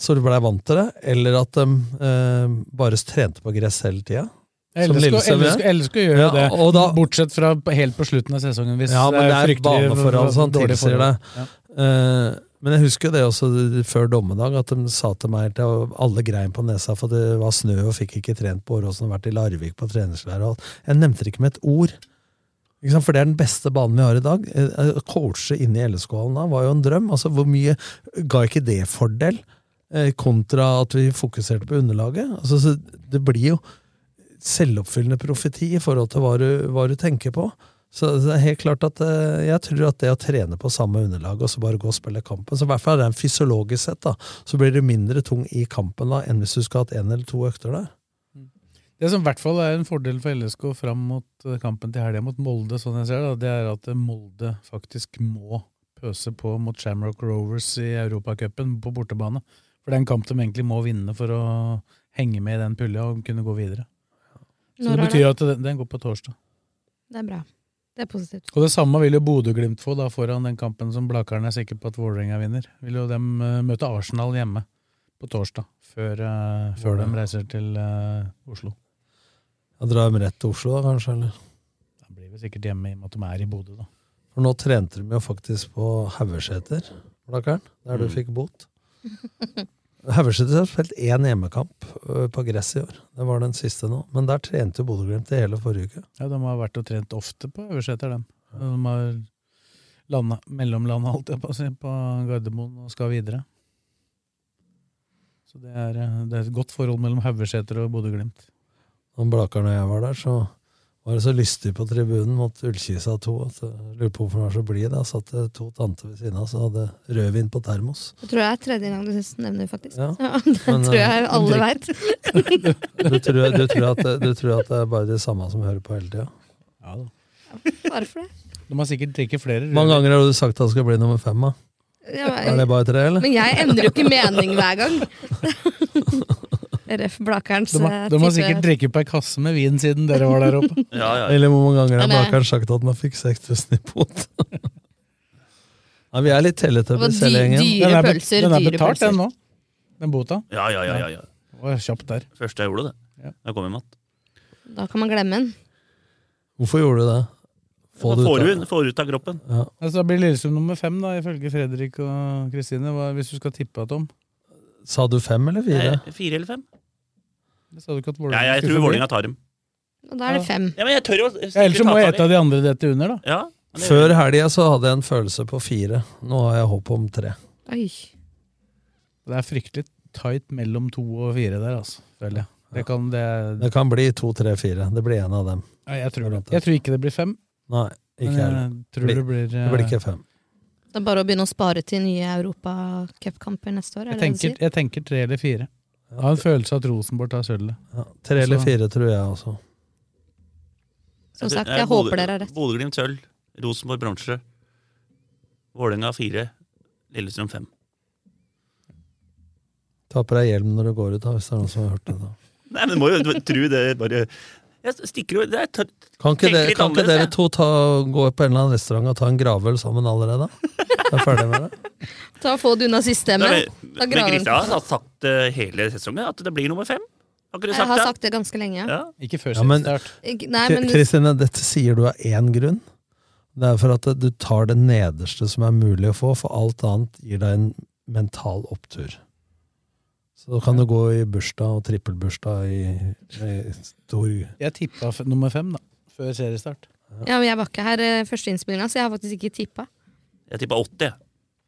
så de blei vant til det, eller at de eh, bare trente på gress hele tida. som
Ellers skulle-
Lillestrøm
ellers
gjør.
skulle- ellers skulle gjøre det,
og da,
bortsett fra helt på slutten av sesongen. Hvis
ja, men det er
fryktelig
baneforhold som
dårlig
tilsier det.
forhold. Ja.
Eh, men jeg husker jo det også før dommedag, at de sa til meg til alle grein på nesa for det var snø og fikk ikke trent på Åråsen og vært i Larvik på treningsleir og alt. Jeg nevnte det ikke med et ord. Ikke sant? For det er den beste banen vi har i dag. Eh, Å coache inne i LSK-hallen da var jo en drøm. Altså, hvor mye ga ikke det fordel, eh, kontra at vi fokuserte på underlaget? Altså, så det blir jo selvoppfyllende profeti i forhold til hva du, hva du tenker på. Så det er helt klart at eh, jeg tror at det å trene på samme underlag og så bare gå og spille kampen, så i hvert fall rent fysiologisk sett, da, så blir du mindre tung i kampen da enn hvis du skulle hatt én eller to økter der.
Det som i hvert fall er en fordel for LSK fram mot eh, kampen til helga mot Molde, sånn jeg ser det, da, det er at eh, Molde faktisk må pøse på mot Shamrock Rovers i Europacupen på bortebane. For det er en kamp de egentlig må vinne for å henge med i den pulja og kunne gå videre. Så
Når
det
er
betyr at den, den går på torsdag.
Det er bra. Det er positivt.
Og det samme vil jo Bodø-Glimt få da foran den kampen som Blakeren er sikker på at Vålerenga vinner. Vil jo dem eh, møte Arsenal hjemme på torsdag, før, eh, før de reiser til eh, Oslo.
Da drar de rett til Oslo, da, kanskje? eller?
De blir vel sikkert hjemme i og med at de er i Bodø, da.
For nå trente de jo faktisk på Haugeseter, Blakkaren, der du fikk bot. Haugeseter har spilt én hjemmekamp ø, på gress i år. Det var den siste nå. Men der trente jo Bodø-Glimt i hele forrige uke.
Ja, de har vært og trent ofte på Øverseter, dem. De har landa mellomlanda, holdt jeg på å si, på Gardermoen og skal videre. Så det er, eh, det er et godt forhold mellom Haugeseter og Bodø-Glimt.
Når Blakaren og jeg var der, så var det så lystig på tribunen mot Ullkisa 2 at jeg lurer på hvorfor han var så blid. Da satt det to tanter ved siden av som hadde rødvin på termos.
Det tror jeg er tredje gang du nevner det, faktisk.
Ja.
Ja. det
Men,
tror jeg
eh,
alle veit.
drikk- Du tror, du, tror at, det- du tror at det er bare de samme som hører på hele tida?
Ja da.
Bare for det.
De har sikkert drikket flere.
Hvor mange ganger har du sagt at det skal bli nummer fem? da?
Ja, men-
Er det bare tre, eller?
Men jeg endrer jo ikke mening hver gang. RF Blakerens eh,
De har, de har sikkert drikket på ei kasse med vin siden dere var der oppe.
Eller hvor mange ganger har
Nei, nei.
Blakaren sagt at man fikk 6000 i pot? Nei, vi er litt
Det var
teletubbies,
dy-
hele gjengen.
dyre
Den er be-
pølser,
Den er
dyre
betalt,
pølser.
den nå. Den bota.
Ja, ja, ja. ja, ja.
Å, kjapt der.
Første jeg gjorde, det.
Ja.
Da kom hjem igjen.
Da kan man glemme den.
Hvorfor gjorde du det? Få det
Da
ut
Får
av-
du får du ut av kroppen.
Ja.
Altså, da blir Lillestrøm nummer fem, da, ifølge Fredrik og Kristine. Hva- Hvis du skal tippe, Tom.
Sa du fem eller fire?
Nei, Fire eller fem?
Det sa du ikke at
Ja,
Vålerenga
jeg
skulle
tror
få bli.
Vålerenga tar dem.
Og da er det fem.
Ja, men jeg tør jo
Ja, Ellers så må jeg ete av de andre dette under, da.
Ja, men det-
Før helga så hadde jeg en følelse på fire. Nå har jeg håp om tre.
Oi.
Det er fryktelig tight mellom to og fire der, altså. Føler jeg. Det kan, det,
Det kan bli to, tre, fire. Det blir en av dem.
Nei, jeg, tror, jeg tror ikke det blir fem.
Nei, ikke
Men
jeg.
jeg tror det blir, eh,
Det blir ikke fem.
Det er bare å begynne å spare til nye europacupkamper neste år.
jeg,
Er det det du
tenker,
sier?
jeg tenker tre eller fire. Jeg har en følelse av at Rosenborg tar sølvet.
Ja, tre eller
Så-
fire tror jeg også.
Som sagt,
Eh,
jeg
Bodø-
håper dere har rett.
Bodø-Glimt sølv, Rosenborg bronse. Vålerenga fire, Lillestrøm fem.
Ta på deg hjelm når du går ut, da, hvis det er noen som har hørt det. da.
Nei, men du må jo tro det bare Jeg stikker jo det er tørt.
Kan
Tenk
ikke, dere,
litt
kan ikke
annerledes,
dere
jeg.
to ta, gå på en eller annen restaurant og ta en gravøl sammen allerede? Jeg er ferdig med det.
Ta og Få det unna systemet.
Men,
Da
men
graver-
Kristian har sagt eh, hele sesongen at det blir nummer fem. Har ikke du
Jeg
sagt
har
det?
sagt det ganske lenge.
Ja.
Ikke før
Ja, men-
seriestart.
Ikke- Nei,
Kri-
men
Kristine, dette sier du av én grunn. Det er for at du tar det nederste som er mulig å få, for alt annet gir deg en mental opptur. Så da kan du gå i bursdag og trippelbursdag i, i stor
Jeg tippa f- nummer fem, da. Før seriestart.
Ja, men jeg var ikke her eh, første innspillinga, så jeg har faktisk ikke tippa.
Jeg tippa 80, jeg.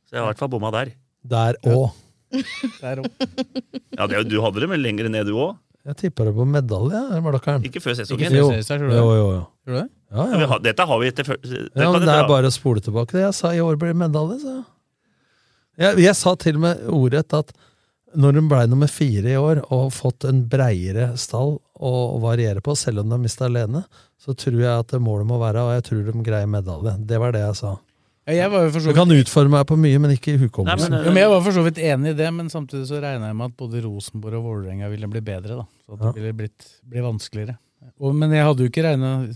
så jeg har i hvert fall bomma der.
Der òg.
Der opp.
Ja, det, er jo- Du hadde det vel lenger ned, du òg?
Jeg tippa det på medalje, Blakkaren.
Ikke før
Ikke
sesongen.
før
Jo.
seriestart,
Jo,
tror du
jo,
det?
jo.
Tror du det?
Ja,
Ja, vi
ja.
har- dette har vi etter før det
Ja,
kan
men
du
det
dra.
er bare å spole tilbake det. Jeg sa i år blir det medalje, sa jeg. jeg. Jeg sa til og med ordrett at når hun blei nummer fire i år og fått en breiere stall å variere på, selv om de har mista alene, så tror jeg at målet må være, og jeg tror de greier medalje. Det var det jeg sa.
Ja, jeg var jo for
Du
så
kan
vidt
utforme meg på mye, men ikke i
Nei, men, eh,
hukommelsen.
jo, men jeg var for så vidt enig i det, men samtidig så regna jeg med at både Rosenborg og Vålerenga ville bli bedre. da. Så at det ville blitt, bli vanskeligere. Og, men jeg hadde jo ikke regna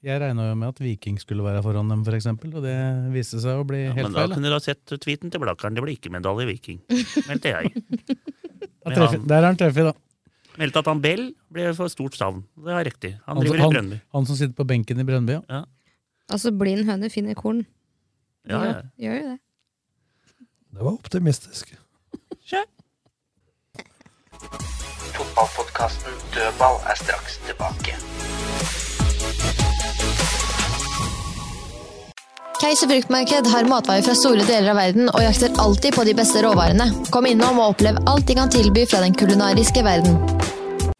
Jeg regna jo med at Viking skulle være foran dem, f.eks., og det viste seg å bli
Men
helt
da
feil.
kunne du ha sett tweeten til Blakkaren. Det ble ikke medalje i Viking, meldte jeg.
Da treffer- Der er han treffig, da.
Meldte at han Bell ble for stort savn. Det er riktig. Han
Han,
driver i
Altså, han,
Brønnby.
han som sitter på benken i Brønnby,
ja.
Altså, blind høne finner korn. De
Ja, ja.
gjør- Gjør jo det.
Det var optimistisk.
Fotballpodkasten Dødball er straks tilbake.
Keiser fruktmarked har matvarer fra store deler av verden og jakter alltid på de beste råvarene. Kom innom og opplev alt de kan tilby fra den kulinariske verden.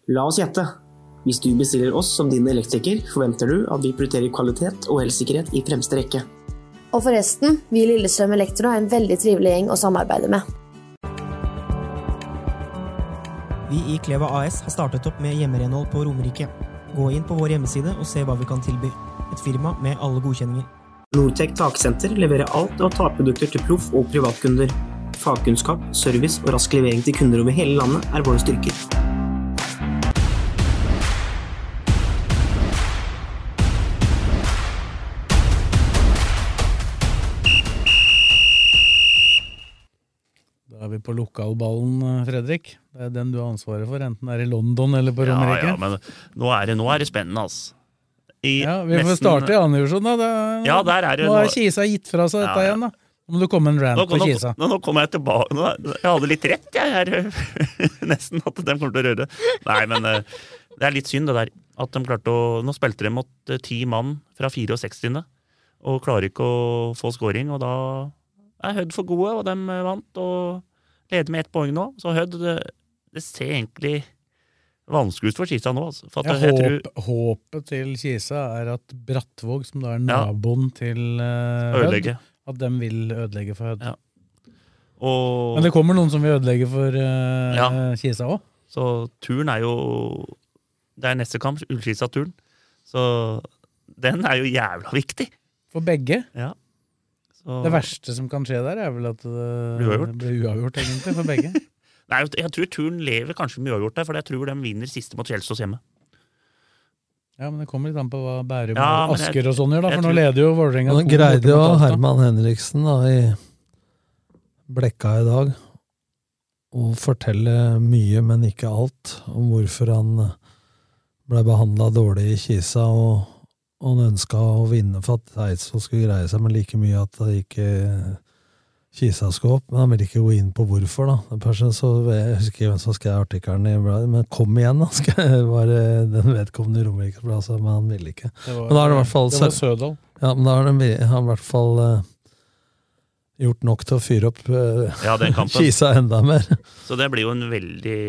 La oss gjette. Hvis du bestiller oss som din elektriker, forventer du at vi prioriterer kvalitet og elsikkerhet i fremste rekke.
Og forresten, vi i Lillestrøm Elektro er en veldig trivelig gjeng å samarbeide med.
Vi i Kleva AS har startet opp med hjemmerenhold på Romerike. Gå inn på vår hjemmeside og se hva vi kan tilby. Et firma med alle godkjenninger.
Nortec taksenter leverer alt av takprodukter til proff- og privatkunder. Fagkunnskap, service og rask levering til kunder over hele landet er våre styrker.
Da er vi på lokalballen, eh, Fredrik. Det er den du har ansvaret for, enten det er i London eller på
Ja,
Romerike.
ja, men nå er det, nå er det spennende, altså. I
vi får
nesten-
starte i andre divisjon, da. Det,
Ja, der er det-
nå er Kisa gitt fra seg dette
Ja, ja.
igjen, da. Nå må du komme en rant
Nå,
på
nå,
Kisa.
nå, nå kommer jeg tilbake nå, Jeg hadde litt rett, jeg. Her. Nesten at de kommer til å røre. Nei, men eh, det er litt synd, det der. At de klarte å Nå spilte de mot eh, ti mann fra 64. Og klarer ikke å få scoring, og da er Hødd for gode, og de eh, vant. Og leder med ett poeng nå. Så Hødd det, det ser egentlig vanskelig ut for Kisa nå, altså. For
Jeg
at jeg, jeg tror
håp, håpet til Kisa er at Brattvåg, som da er
Ja.
naboen til eh, Hødd,
Ødelegge.
at de vil ødelegge for Hødd.
og,
Men det kommer noen som vil ødelegge for eh,
Ja.
Kisa òg.
Så turen er jo Det er neste kamp, Ullskisa-turen. Så den er jo jævla viktig.
For begge.
Ja. Så-
Det verste som kan skje der, er vel at det
Blir uavgjort.
blir uavgjort, egentlig, for begge.
Nei, jeg tror turen lever kanskje med uavgjort der, for jeg tror de vinner siste mot Kjelsås hjemme.
Ja, men det kommer litt an på hva Bærum
Ja,
og
men jeg-
Asker og sånn gjør, da.
jeg
For nå
tror-
leder jo Vålerenga
Han
to
greide
borte
jo
mot Alta.
Herman Henriksen da, i Blekka i dag å fortelle mye, men ikke alt, om hvorfor han ble behandla dårlig i Kisa, og og han ønska å vinne for at Eidsvoll skulle greie seg, men like mye at det ikke Kisa skulle opp. Men han ville ikke gå inn på hvorfor, da. Den personen så, jeg husker ikke hvem som skrev artikkelen i bladet, men kom igjen, da! skrev- var det den vedkommende i Romerikesbladet, altså, men han ville ikke.
Det var-
men da har det i hvert fall
det var Sødal.
ja, men da har de har i hvert fall eh, gjort nok til å fyre opp eh,
Ja, den kampen.
Kisa enda mer.
Så det blir jo en veldig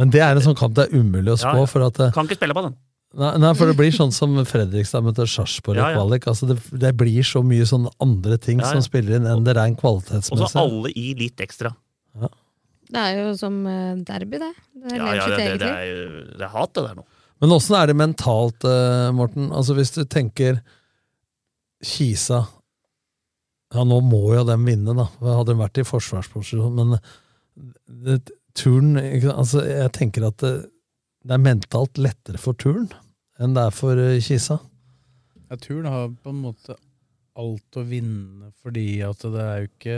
Men det er en sånn kamp det er umulig å spå.
Ja, ja.
for at eh,
Kan ikke spille på den.
Nei, nei, for det blir sånn som Fredrikstad møter Sarpsborg i
Ja, ja.
kvalik. Altså det, det blir så mye sånne andre ting
Ja, ja.
som spiller inn enn det rein
Og så
kvalitetsmessig.
alle i litt ekstra.
Det er jo som eh, derby, det. Det er
Ja,
levd
ja,
sitt
det,
eget
det,
liv.
er, jo- det er hat, det der nå.
Men åssen er det mentalt, eh, Morten? Altså Hvis du tenker Kisa Ja, nå må jo dem vinne, da. Hadde de vært i forsvarsposisjon, men det, turn ikke, sant? altså, Jeg tenker at det, det er mentalt lettere for turn enn det er for eh, Kisa.
Ja, Turn har på en måte alt å vinne, fordi at det er jo ikke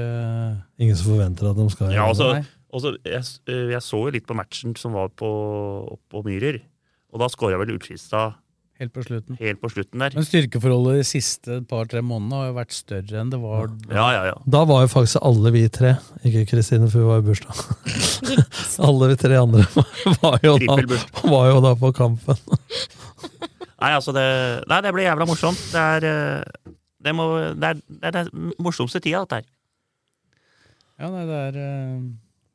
Ingen som forventer at de skal
Ja, altså- og så-
Nei.
og så- jeg, s- øh, jeg så jo litt på matchen som var på, oppe på Myhrer, og da skåra vel Ullskisa
Helt på slutten.
helt på slutten der.
Men styrkeforholdet de siste par-tre månedene har jo vært større enn det var
Ja, ja, ja.
Da var jo faktisk alle vi tre, ikke Kristine, for hun var i bursdag. alle vi tre andre var jo, da,
Trippelbursdag.
var jo da på kampen.
Nei, altså det, nei, det blir jævla morsomt. Det er øh, det, må, det, er, det er den morsomste tida, dette her.
Ja, nei, det er eh,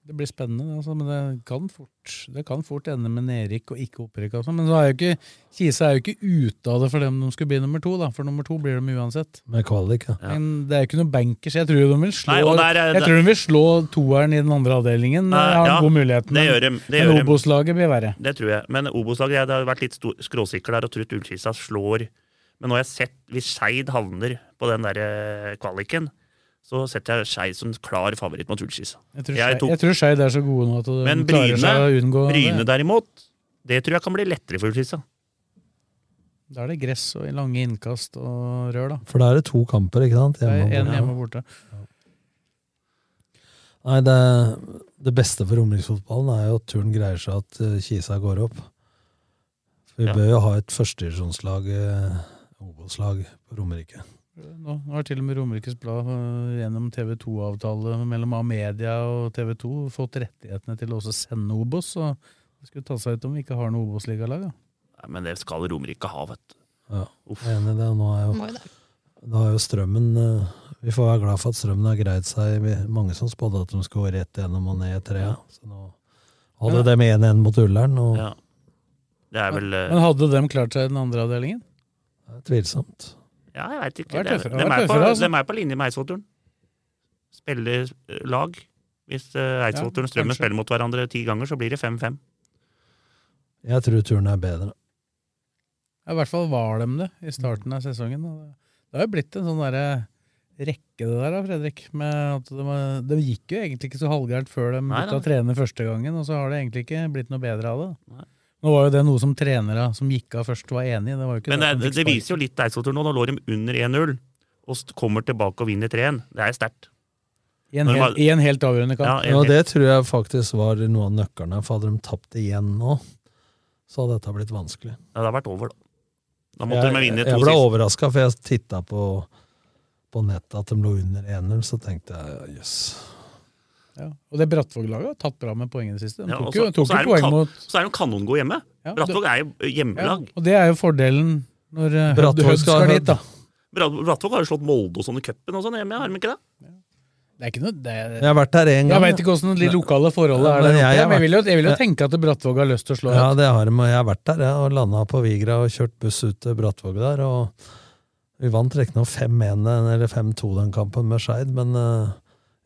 Det blir spennende, det, altså, men det kan fort Det kan fort ende med nedrykk og ikke opprykk. Altså. Men så er jo ikke Kisa er jo ikke ute av det for dem de skulle bli nummer to, da. For nummer to blir de uansett.
Med kvalik, ja.
Men det er jo ikke noe bankers. Jeg tror de vil slå
Nei, og der er-
Jeg tror de vil slå toeren i den andre avdelingen.
Nei,
Jeg har
ja,
en god mulighet.
det gjør de, det gjør de.
men Obos-laget blir verre.
Det tror jeg. Men Obos-laget jeg- det har vært litt stor- skråsikker der og trodd Ullskisa slår. Men nå har jeg sett hvis Skeid havner på den der eh, kvaliken, så setter jeg Skeid som klar favoritt mot Ullskisa.
Jeg tror
Jeg
Skei-
tok-
jeg tror Skeid er så gode nå at de
Men
klarer seg å
Bryne,
unngå
Bryne
det.
derimot, det tror jeg kan bli lettere for Ullskisa.
Da er det gress og lange innkast og rør, da.
For da er det to kamper, ikke sant?
Det er
Hjemme og
en
borte.
hjemme og borte.
Nei, det, det beste for romeriksfotballen er jo at turen greier seg at eh, Kisa går opp. For vi
Ja.
bør jo ha et førstedivisjonslag, eh, Obos-lag, på Romerike.
Nå nå har til og med Romerikes Blad øh, gjennom TV2-avtale mellom Amedia og TV2 fått rettighetene til å også sende Obos. Så det skulle ta seg ut om vi ikke har noe Obos-ligalag. da.
Nei, Men det skal Romerike ha, vet du.
Ja, jeg er enig i det. og Nå er jo, da er jo strømmen eh, Vi får være glad for at strømmen har greid seg. Vi- Mange som spådde at de skulle gå rett gjennom og ned i trea. Så nå hadde
Ja.
de 1-1 mot Ullern, og
Det er vel eh,
Men hadde de klart seg i den andre avdelingen?
tvilsomt.
Ja, jeg veit ikke.
Det er
Det er- dem
tøffere- det er
er på-
tøffere, altså.
dem er på linje med Eidsvollturen. Spiller eh, lag. Hvis eh, Eidsvollturen og Strømmen
kanskje.
spiller mot hverandre ti ganger, så blir det 5-5.
Jeg tror turen er bedre.
Ja, I hvert fall var de det i starten av sesongen. og det- Det har jo blitt en sånn derre rekke, det der, da, Fredrik. Med at de, har- de gikk jo egentlig ikke så halvgærent før de
Nei,
begynte
da.
å trene første gangen, og så har det egentlig ikke blitt noe bedre av det. da. Nå var jo det noe som trenere som gikk av først, var enig i. Det var jo ikke
Men
det,
det,
at de
det, det
fikk
viser jo litt Eidsvollturen nå. Nå lå de under 1-0 og st- kommer tilbake og vinner 3-1. Det er sterkt.
I en,
Når de
helt,
har-
I en helt avgjørende
Ja,
kamp.
Ja, det tror jeg faktisk var noe av nøkkelen her, for hadde de tapt igjen nå, så hadde dette blitt vanskelig.
Ja, det har vært over, da. Da måtte de
jeg,
vinne to
jeg ble
siste.
overraska, for jeg titta på, på nettet at de lå under 1-0, så tenkte jeg jøss.
Ja. Og det Brattvåg-laget har tatt bra med poengene siste. De
Ja, og
tok
så-
jo, tok
og så er
jo
de
poeng
kan-
mot
Så er de kanongode hjemme.
Ja,
Brattvåg er jo hjemmelag.
Og det er jo fordelen når eh, Hødd
Brattvåg
Hødd
skal
skal
ha
dit, da.
Brat- Brattvåg har jo slått Molde og sånn i cupen og sånn hjemme, har de ikke det?
Det er ikke noe det er,
Jeg har vært der én
Jeg
gang.
veit ikke åssen de lokale forholdene er
Men
der
jeg
oppe,
har
men jeg vil jo, jeg vil jo
vært-
tenke at Brattvåg har lyst til å slå
Ja,
Hødd.
det har de, og jeg har vært der, jeg, og landa på Vigra og kjørt buss ut til Brattvåg der. og Vi vant riktignok 5-1 eller 5-2 den kampen med Skeid, men eh,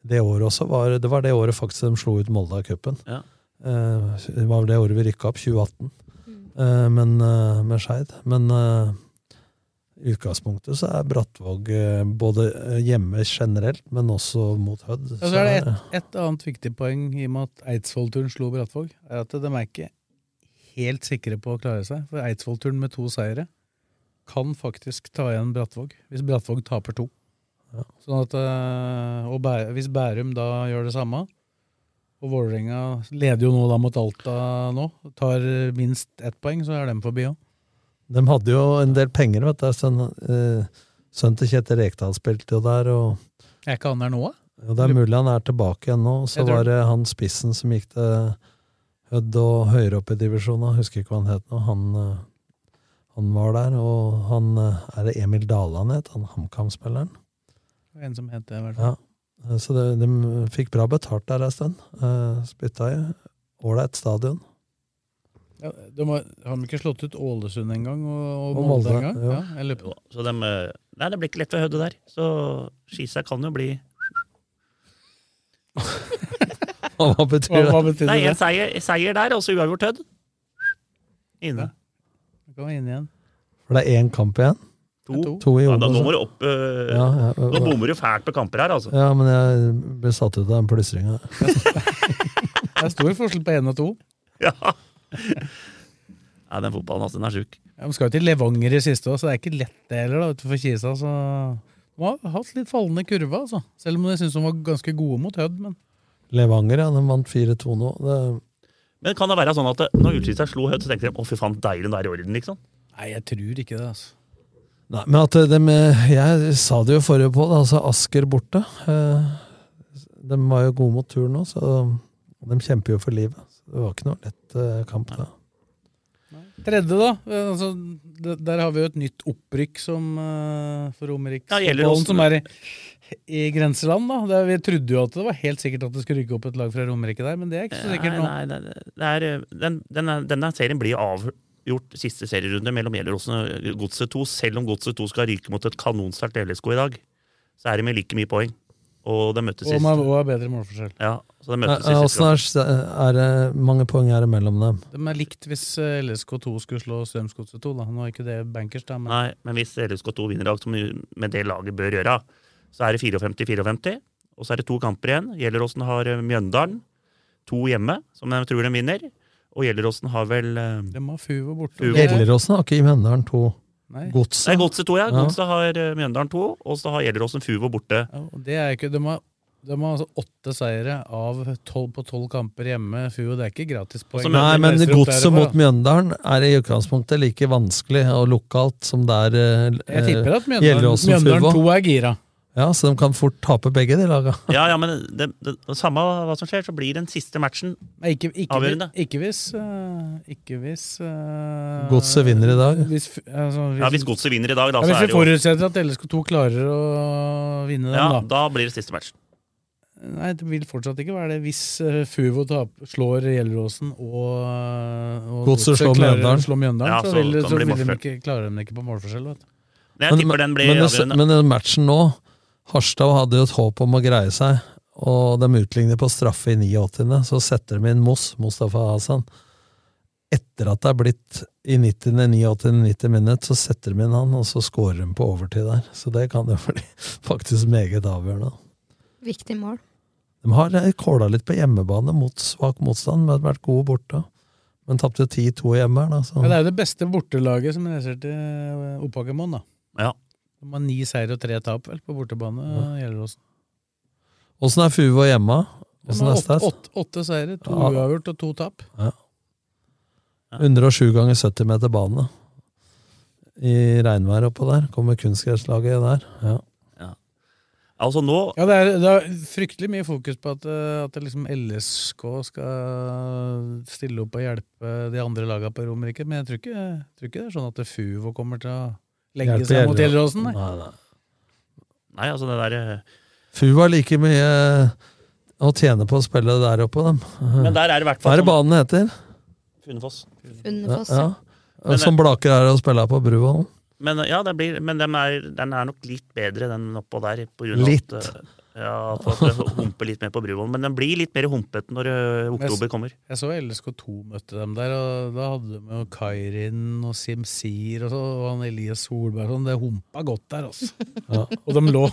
det året også var, det var det året faktisk de slo ut Molde av cupen.
Ja.
Eh, Det var vel det året vi rykka opp, 2018, eh, men, eh, med Skeid. Men eh, i utgangspunktet så er Brattvåg eh, både eh, hjemme generelt, men også mot Hødd.
Og så er det et, et annet viktig poeng i og med at Eidsvollturen slo Brattvåg, er at de er ikke helt sikre på å klare seg. For Eidsvollturen med to seire kan faktisk ta igjen Brattvåg, hvis Brattvåg taper to. Sånn at, eh, og Bæ- hvis Bærum da gjør det samme, og Vålerenga leder jo nå da mot Alta nå, tar minst ett poeng, så er de forbi òg.
De hadde jo en del penger, vet du. Sønn, eh, sønn til Kjetil Rekdal spilte jo der, og
Er ikke han der nå, da?
jo, det er mulig han er tilbake igjen nå. Så
Jeg tror
var
det.
det han spissen som gikk til Hødd og høyere opp i divisjonen, jeg husker ikke hva han het nå. Han, eh, han var der, og han eh, Er det Emil Dale han het, han HamKam-spilleren?
En som heter det, i hvert fall.
Ja. Eh, Så det, de fikk bra betalt der ei stund. Eh, Spytta i. Ålreit stadion.
Ja, de har, har de ikke slått ut Ålesund engang, og, og
Og
Molde
Molde,
engang?
ja.
Ja, jeg lurer på-
Så dem, eh, nei, det blir ikke lett ved Hødde der. Så Skisa kan jo bli
Hva betyr det?
Nei, en seier, seier der, altså og så uavgjort Hødd. Inne.
Du kan være inne igjen.
For det er én kamp igjen?
To.
to i
Ja, da,
Obos,
nå
ja.
må du opp eh,
Ja, ja.
Nå bommer du fælt på kamper her, altså.
Ja, men jeg ble satt ut av den plystringa.
Det er stor forskjell på én og to.
Ja. Nei, den fotballen, altså, den er sjuk.
Ja, De skal jo til Levanger i siste òg, så det er ikke lett det heller. da, utenfor Kisa. Så de har hatt litt fallende kurve, altså. Selv om jeg syns de var ganske gode mot Hødd. men
Levanger, ja. De vant 4-2 nå. Det,
Men kan det være sånn at det- når Ullskisa slo Hødd, så tenkte de å fy faen, deilig, nå er det i orden, liksom?
Nei, jeg tror ikke det, altså.
nei, men at de, jeg sa det jo forrige på, da, altså Asker borte. Eh, De var jo gode mot tur nå, så de kjemper jo for livet. Så Det var ikke noe lett eh, kamp da.
Tredje, da. eh, Altså, det, der har vi jo et nytt opprykk som, eh, for
Ja, det gjelder
Romeriksfotballen,
oss.
som er i, i grenseland. da. Det, vi trodde jo at det var helt sikkert at det skulle rykke opp et lag fra Romerike der, men det er ikke så
Nei,
sikkert
nei,
nå.
nei, det er, eh, den, denne, denne serien blir avgjort siste serierunde mellom Gjelleråsen og øh, Godset 2. Selv om Godset 2 skal ryke mot et kanonsterkt LSK i dag, så er de med like mye poeng. Og de møttes
Og
sist.
man har bedre målforskjell.
Ja, så de møttes
Eh,
sist.
Åssen er, er det mange poeng er det mellom dem?
De er likt hvis eh, LSK2 skulle slå Strømsgodset 2. da. Nå er ikke det bankers, da, men
Nei, men hvis LSK2 vinner i dag, som med det laget bør gjøre, så er det 54-54. Og så er det to kamper igjen. Gjelleråsen har eh, Mjøndalen. To hjemme, som de tror de vinner. Og Gjelleråsen har vel eh,
de har Fuvo borte.
Fuvo.
Det-
Gjelleråsen har ikke i Mjøndalen to. Godset.
Nei, Godset 2, ja.
Ja.
Godset har eh, Mjøndalen 2, og så har Gjelleråsen Fuvo borte.
Og Det er ikke, de har, de har altså åtte seire av tolv på tolv kamper hjemme. Fuo, det er ikke gratispoeng.
Nei, men godset mot
mye
Mjøndalen er i utgangspunktet like vanskelig og lokalt som det er eh,
Jeg tipper at Mjøndalen,
Gjelleråsen
Mjøndalen
Fuvo.
2 er gira.
Ja, så de kan fort tape begge de laga.
Ja, ja, men det, det, det, samme hva som skjer, så blir den siste matchen
Nei, ikke, ikke,
avgjørende.
Ikke hvis, øh, ikke hvis øh,
Godset vinner i dag.
Hvis, f- altså,
Ja, Hvis Godset vinner i dag, da,
ja,
så
hvis
er
vi
det jo
forutsetter at LSK2 klarer å vinne den,
ja,
da.
Da blir det siste matchen.
Nei, det vil fortsatt ikke være det. Hvis eh, Fuvo tap, slår Gjelleråsen og, eh, og
Godset slår
klarer å
Mjøndalen.
slå Mjøndalen
Ja,
så,
så
vil,
kan
så
det bli
vil de
målforskjell.
ikke, klarer de det ikke på målforskjell. Vet du.
men, det- men den matchen nå Harstad hadde jo et håp om å greie seg, og de utligner på straffe i 89. Så setter de inn Moss, Mustafa Hasan. Etter at det er blitt i 90. 89. 90 minutt, så setter de inn han, og så scorer de på overtid der. Så det kan jo bli faktisk meget avgjørende.
Viktig mål.
De har kåla litt på hjemmebane mot svak motstand, men har vært gode borte. Men tapte 10-2 hjemme her, da. Så.
Men det er jo det beste bortelaget som reiser til eh, Oppakermoen, da.
Ja.
De har ni seier og tre tap vel, på bortebane, eh, Gjelleråsen.
Åssen er Fuvo hjemme?
De
Åssen
har
er
åtte,
stats?
åtte, åtte seire, to
Ja.
uavgjort og to tap.
Ja. 107 ganger 70 meter bane. I regnvær oppå der. Kommer kunstgresslaget der. Ja.
Altså nå
Ja, det er, det er fryktelig mye fokus på at, eh, at det liksom LSK skal stille opp og hjelpe de andre lagene på Romerike, men jeg tror ikke, jeg tror ikke det er sånn at Fuvo kommer til å legge
Hjelpe
seg mot
Gjelleråsen.
Gjelleråsen.
Nei, nei.
Nei, altså det der eh,
Fuvo har like mye eh, å tjene på å spille der oppe, dem.
Men der Mm. er det i hvert fall
Hva er det
sånn-
banen heter?
Funnefoss.
Funnefoss,
ja.
Men det-
Som Blaker er å spille på brua nå.
Men eh, ja, det blir, men den er, den er nok litt bedre, den oppå der. På grunn av
Litt.
At, eh, ja, for at det humper litt mer på Bruvollen. Men den blir litt mer humpete når eh, oktober kommer.
Jeg så LSK2 møtte dem der, og da hadde de jo Kairin og Simsir og, så, og han Elias Solberg og sånn. Det humpa godt der, altså.
Ja.
Og de lå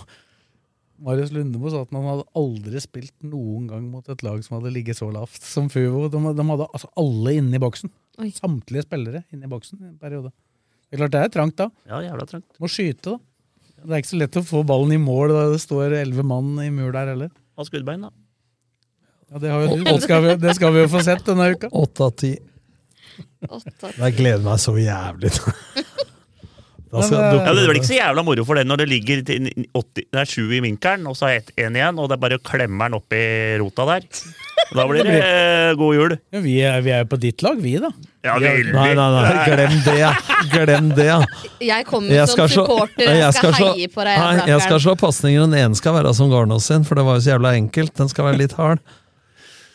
Marius Lundemo sa at han hadde aldri spilt noen gang mot et lag som hadde ligget så lavt som Fuvo. De, de hadde altså alle inne i boksen. Samtlige spillere inne i boksen i en periode. Det er klart det er trangt da.
Ja, jævla trangt.
Må skyte, da. Det er ikke så lett å få ballen i mål da det står elleve mann i mur der heller.
Og skuddbein, da.
Ja, det, har jo du. Det, skal vi, det skal vi jo få sett denne uka.
Åtte av ti. Jeg gleder meg så jævlig. da skal
ja,
jeg
det
dukke
blir
opp.
ikke så jævla moro for den når det ligger til n- 80, det er sju i vinkelen, og så er ett én igjen, og det er bare å klemme den opp i rota der. Og Da blir det eh, god jul.
Ja, vi, er, vi er jo på ditt lag, vi, da.
Ja, det er
Nei, nei, nei, glem det! ja. Glem det! ja.
Jeg kommer
Jeg
Mm, som
skal slå-
supporter,
Nei,
jeg,
jeg
skal,
skal slå-
heie på deg.
Nei, jeg skal slå pasninger, og den ene skal være som Garnås sin, for det var jo så jævla enkelt. Den skal være litt hard.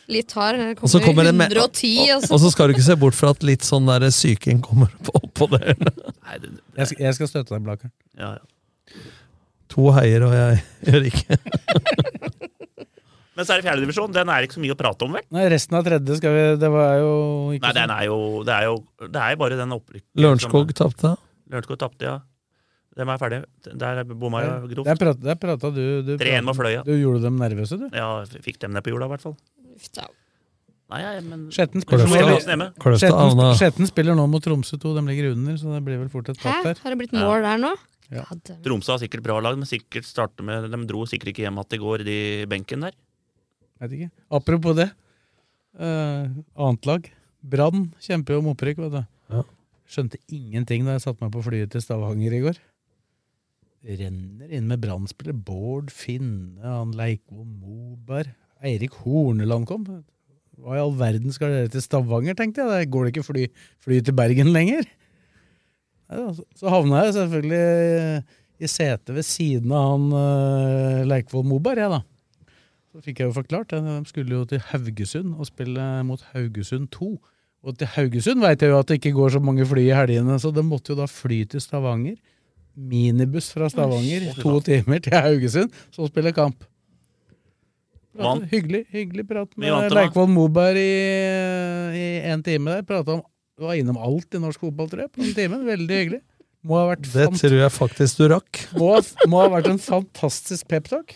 Litt hard. Det
Og så
Kommer,
kommer en me-
110, og altså. så
Og så skal du ikke se bort fra at litt sånn der syking kommer på- oppå der.
Jeg skal, jeg skal støtte deg, Blaker.
Ja, ja.
To heier, og jeg gjør ikke.
Men så er det fjerdedivisjon. Den er ikke så mye å prate om, vel?
Nei, resten av tredje skal vi Det var jo ikke
Nei, den er jo Det er jo, det er jo bare den opprykket.
Lørenskog tapte.
Lørenskog tapte, ja. Dem er ferdige. Der bomma jeg
Der
grovt.
prata, der prata du du,
3-1 med Fløya.
du gjorde dem nervøse, du.
Ja, jeg fikk dem ned på jorda, i hvert fall. Nei, ja, men
Skjetten
Kløfta-
spiller,
Kløfta-
Skjetten-
Kløfta havna-
Skjetten spiller nå mot Tromsø 2, de ligger under, så det blir vel fort et tap
Hæ?
der.
Har det blitt mål der nå?
Ja.
Tromsø har sikkert bra lag, men sikkert starter med, de dro sikkert ikke hjem igjen i går, de benken der.
Vet ikke. Apropos det. eh, annet lag. Brann kjemper jo om opprykk, vet du.
Ja.
Skjønte ingenting da jeg satte meg på flyet til Stavanger i går. Renner inn med Brann-spillere. Bård Finne, han Leikvoll Moberg. Eirik Horneland kom. Hva i all verden skal dere til Stavanger, tenkte jeg. Der går det ikke fly, fly til Bergen lenger. Ja, så- Så havna jeg selvfølgelig i setet ved siden av han eh, Leikvoll Moberg, jeg, da. Så fikk jeg jo forklart det. De skulle jo til Haugesund og spille mot Haugesund 2. Og til Haugesund vet jeg jo at det ikke går så mange fly i helgene, så de måtte jo da fly til Stavanger. Minibuss fra Stavanger,
shit.
to timer til Haugesund, så spille kamp. Pratet-
Vant.
Hyggelig, hyggelig prat
Vi vant dem,
med
da.
Leikvoll Moberg i, i en time der. Prata om du var innom alt i norsk fotball, tror jeg, på den timen. Veldig hyggelig. Må ha vært,
Det
fant,
tror jeg faktisk du rakk.
må, ha- må ha vært en fantastisk peptalk.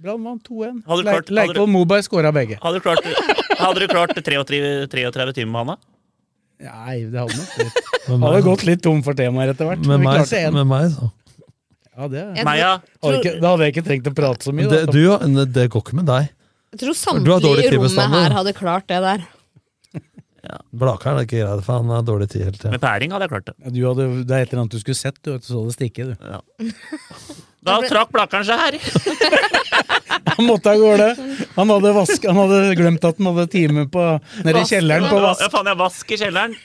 Brann vant 2-1.
Hadde du klart-
Leik-
hadde du-
Leikvoll Moberg skåra begge.
Hadde du klart, hadde du klart 33, 33 timer med Hanna?
Nei, det hadde nok blitt. Hadde gått litt tom for temaer etter hvert.
Med
men vi
meg,
klarte en.
med meg så.
Ja, det.
Jeg Meia. tror-
Hadde ikke, da hadde jeg ikke trengt å prate så mye.
Det,
da.
du, ja, det går ikke med deg.
Jeg tror
Du har
samtlige i
dårlig tid med
rommet
standard.
her hadde klart det der.
Blakeren er ikke greit, for han har dårlig tid hele tida.
Med pæring hadde jeg klart det.
Ja, du hadde, det er et eller annet du skulle sett, du, og så det stikke. Du.
Da trakk Blakkeren seg her!
Han måtte av gårde! Han hadde, vask, han hadde glemt at han hadde time på, nede i kjelleren på vask.
Ja, faen, jeg har vask i kjelleren!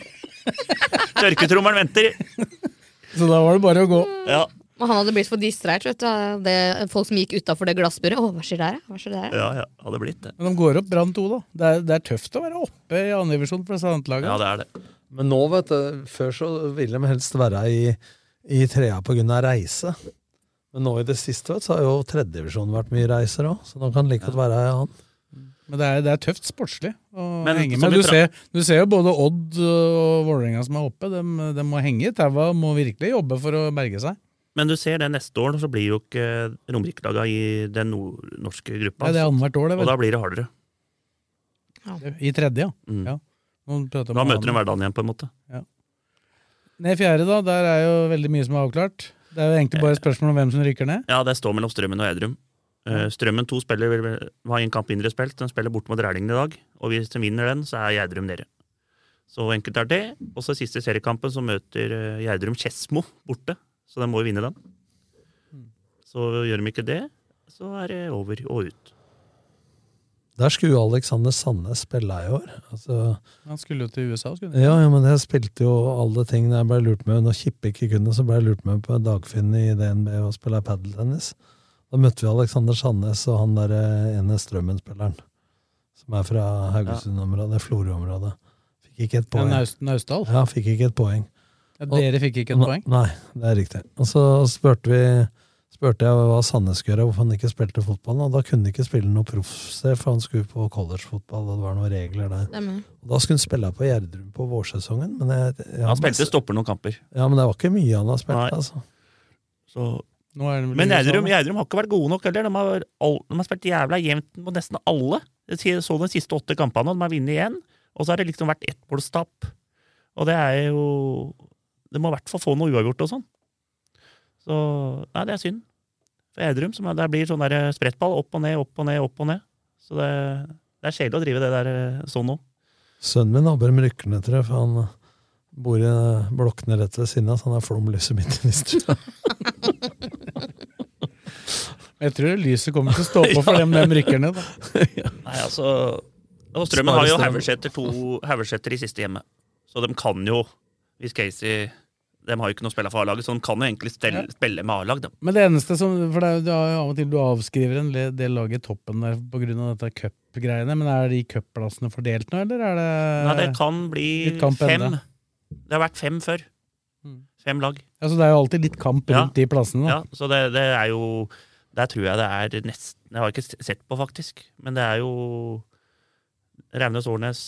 Tørketrommelen venter.
Så da var det bare å gå.
Ja.
Og han hadde blitt for distrahert vet du, av det, folk som gikk utafor det glassburet. Å, hva skjer der, ja? hva skjer der? ja?
Ja, ja, hadde blitt det.
Men de går opp Brann 2, da. Det er, det er tøft å være oppe i andre divisjon for Strandlaget.
Ja, det er det.
Men nå, vet du, før så ville de helst være i, i trea på grunn av reise. Men nå i det siste vet, du, så har jo tredjedivisjonen vært mye reiser òg, så nå kan det like godt være ei annen.
Men det er, det er tøft sportslig å
Men
henge
som
med.
vi
Du
tra-
ser, du ser jo både Odd og Vålerenga som er oppe. De, må henge i taua, må virkelig jobbe for å berge seg.
Men du ser det neste år, så blir jo ikke eh, Romerikelaga i den nordnorske gruppa. altså.
Ja, det er annethvert år, det, vel.
Og da blir det hardere.
I tredje, ja.
Mm.
ja. Nå prater vi
Da
om
møter de
annen.
hverdagen igjen, på en måte.
Ned i fjerde, da. Der er jo veldig mye som er avklart. Det er jo egentlig bare et spørsmål om hvem som rykker ned.
Ja, det står mellom Strømmen og Edrum. Eh, Strømmen to spiller vel- vel- har en kamp mindre spilt, den spiller bort mot Rælingen i dag. Og hvis de vinner den, så er Gjerdrum nede. Så enkelt er det. Og så siste seriekampen, så møter eh, Gjerdrum Skedsmo borte. Så de må jo vinne den.
Hmm.
Så gjør de ikke det, så er det over og ut.
Der skulle jo Alexander Sandnes spille i år. Altså,
Han skulle jo til USA, skulle han?
ja, ja, men jeg spilte jo alle ting jeg ble lurt med. Når Kippe ikke kunne, så ble jeg lurt med på Dagfinn i DNB og spille padeltennis. Da møtte vi Alexander Sandnes og han der eh, ene Strømmen-spilleren. Som er fra Haugesund-området, Florø-området. Fikk ikke et
Ja,
poeng.
Naust- Naustdal?
Ja, fikk ikke et poeng.
Ja,
Og-
dere fikk ikke et
Ne-
poeng?
Nei, det er riktig. Og så spurte vi spurte jeg hva Sandnes skulle gjøre, hvorfor han ikke spilte fotball. Og da kunne han ikke spille noe proffsted, for han skulle på collegefotball, og det var noen regler der.
Stemmer.
Og da skulle han spille på Gjerdrum på vårsesongen, men jeg, jeg,
Han spilte stopper noen kamper.
Ja, men det var ikke mye han har spilt,
Nei.
altså.
Så
Nå er sånn. det vel
Men
i USA,
Gjerdrum
da.
Gjerdrum har ikke vært gode nok heller. De har, all, de har spilt jævla jevnt mot nesten alle. Jeg så de siste åtte kampene, og de har vunnet igjen. Og så har det liksom vært ettmålstap. Og det er jo De må i hvert fall få noe uavgjort og sånn. Så Nei, det er synd. For Gjerdrum som er- der blir sånn der sprettball. Opp og ned, opp og ned, opp og ned. Så det, det er kjedelig å drive det der eh, sånn nå.
Sønnen min håper de rykker ned, tror jeg, for han bor i blokkene rett ved siden av, så han er flom lyset midt i nistra.
Jeg tror lyset kommer til å stå på for dem de rykker ned. Da.
Nei, altså og Strømmen har jo Haugeseter to- Haugeseter i siste hjemme. Så de kan jo Hvis Casey De har jo ikke noe å spille for A-laget, så de kan jo egentlig stelle, spille med A-lag, de.
Men det eneste som For det er, jo- det er jo av og til du avskriver en le- del lag i toppen der pga. dette cupgreiene, men er de cupplassene fordelt nå, eller er det
Nei, det kan bli
Eh, litt kamp
fem.
enda?
Det har vært fem før. Fem lag.
Ja, så Altså, det er jo alltid litt kamp
Ja.
rundt de plassene, da.
Ja, så det, det er jo Der tror jeg det er nesten Jeg har ikke sett på, faktisk. Men det er jo Raunes Årnes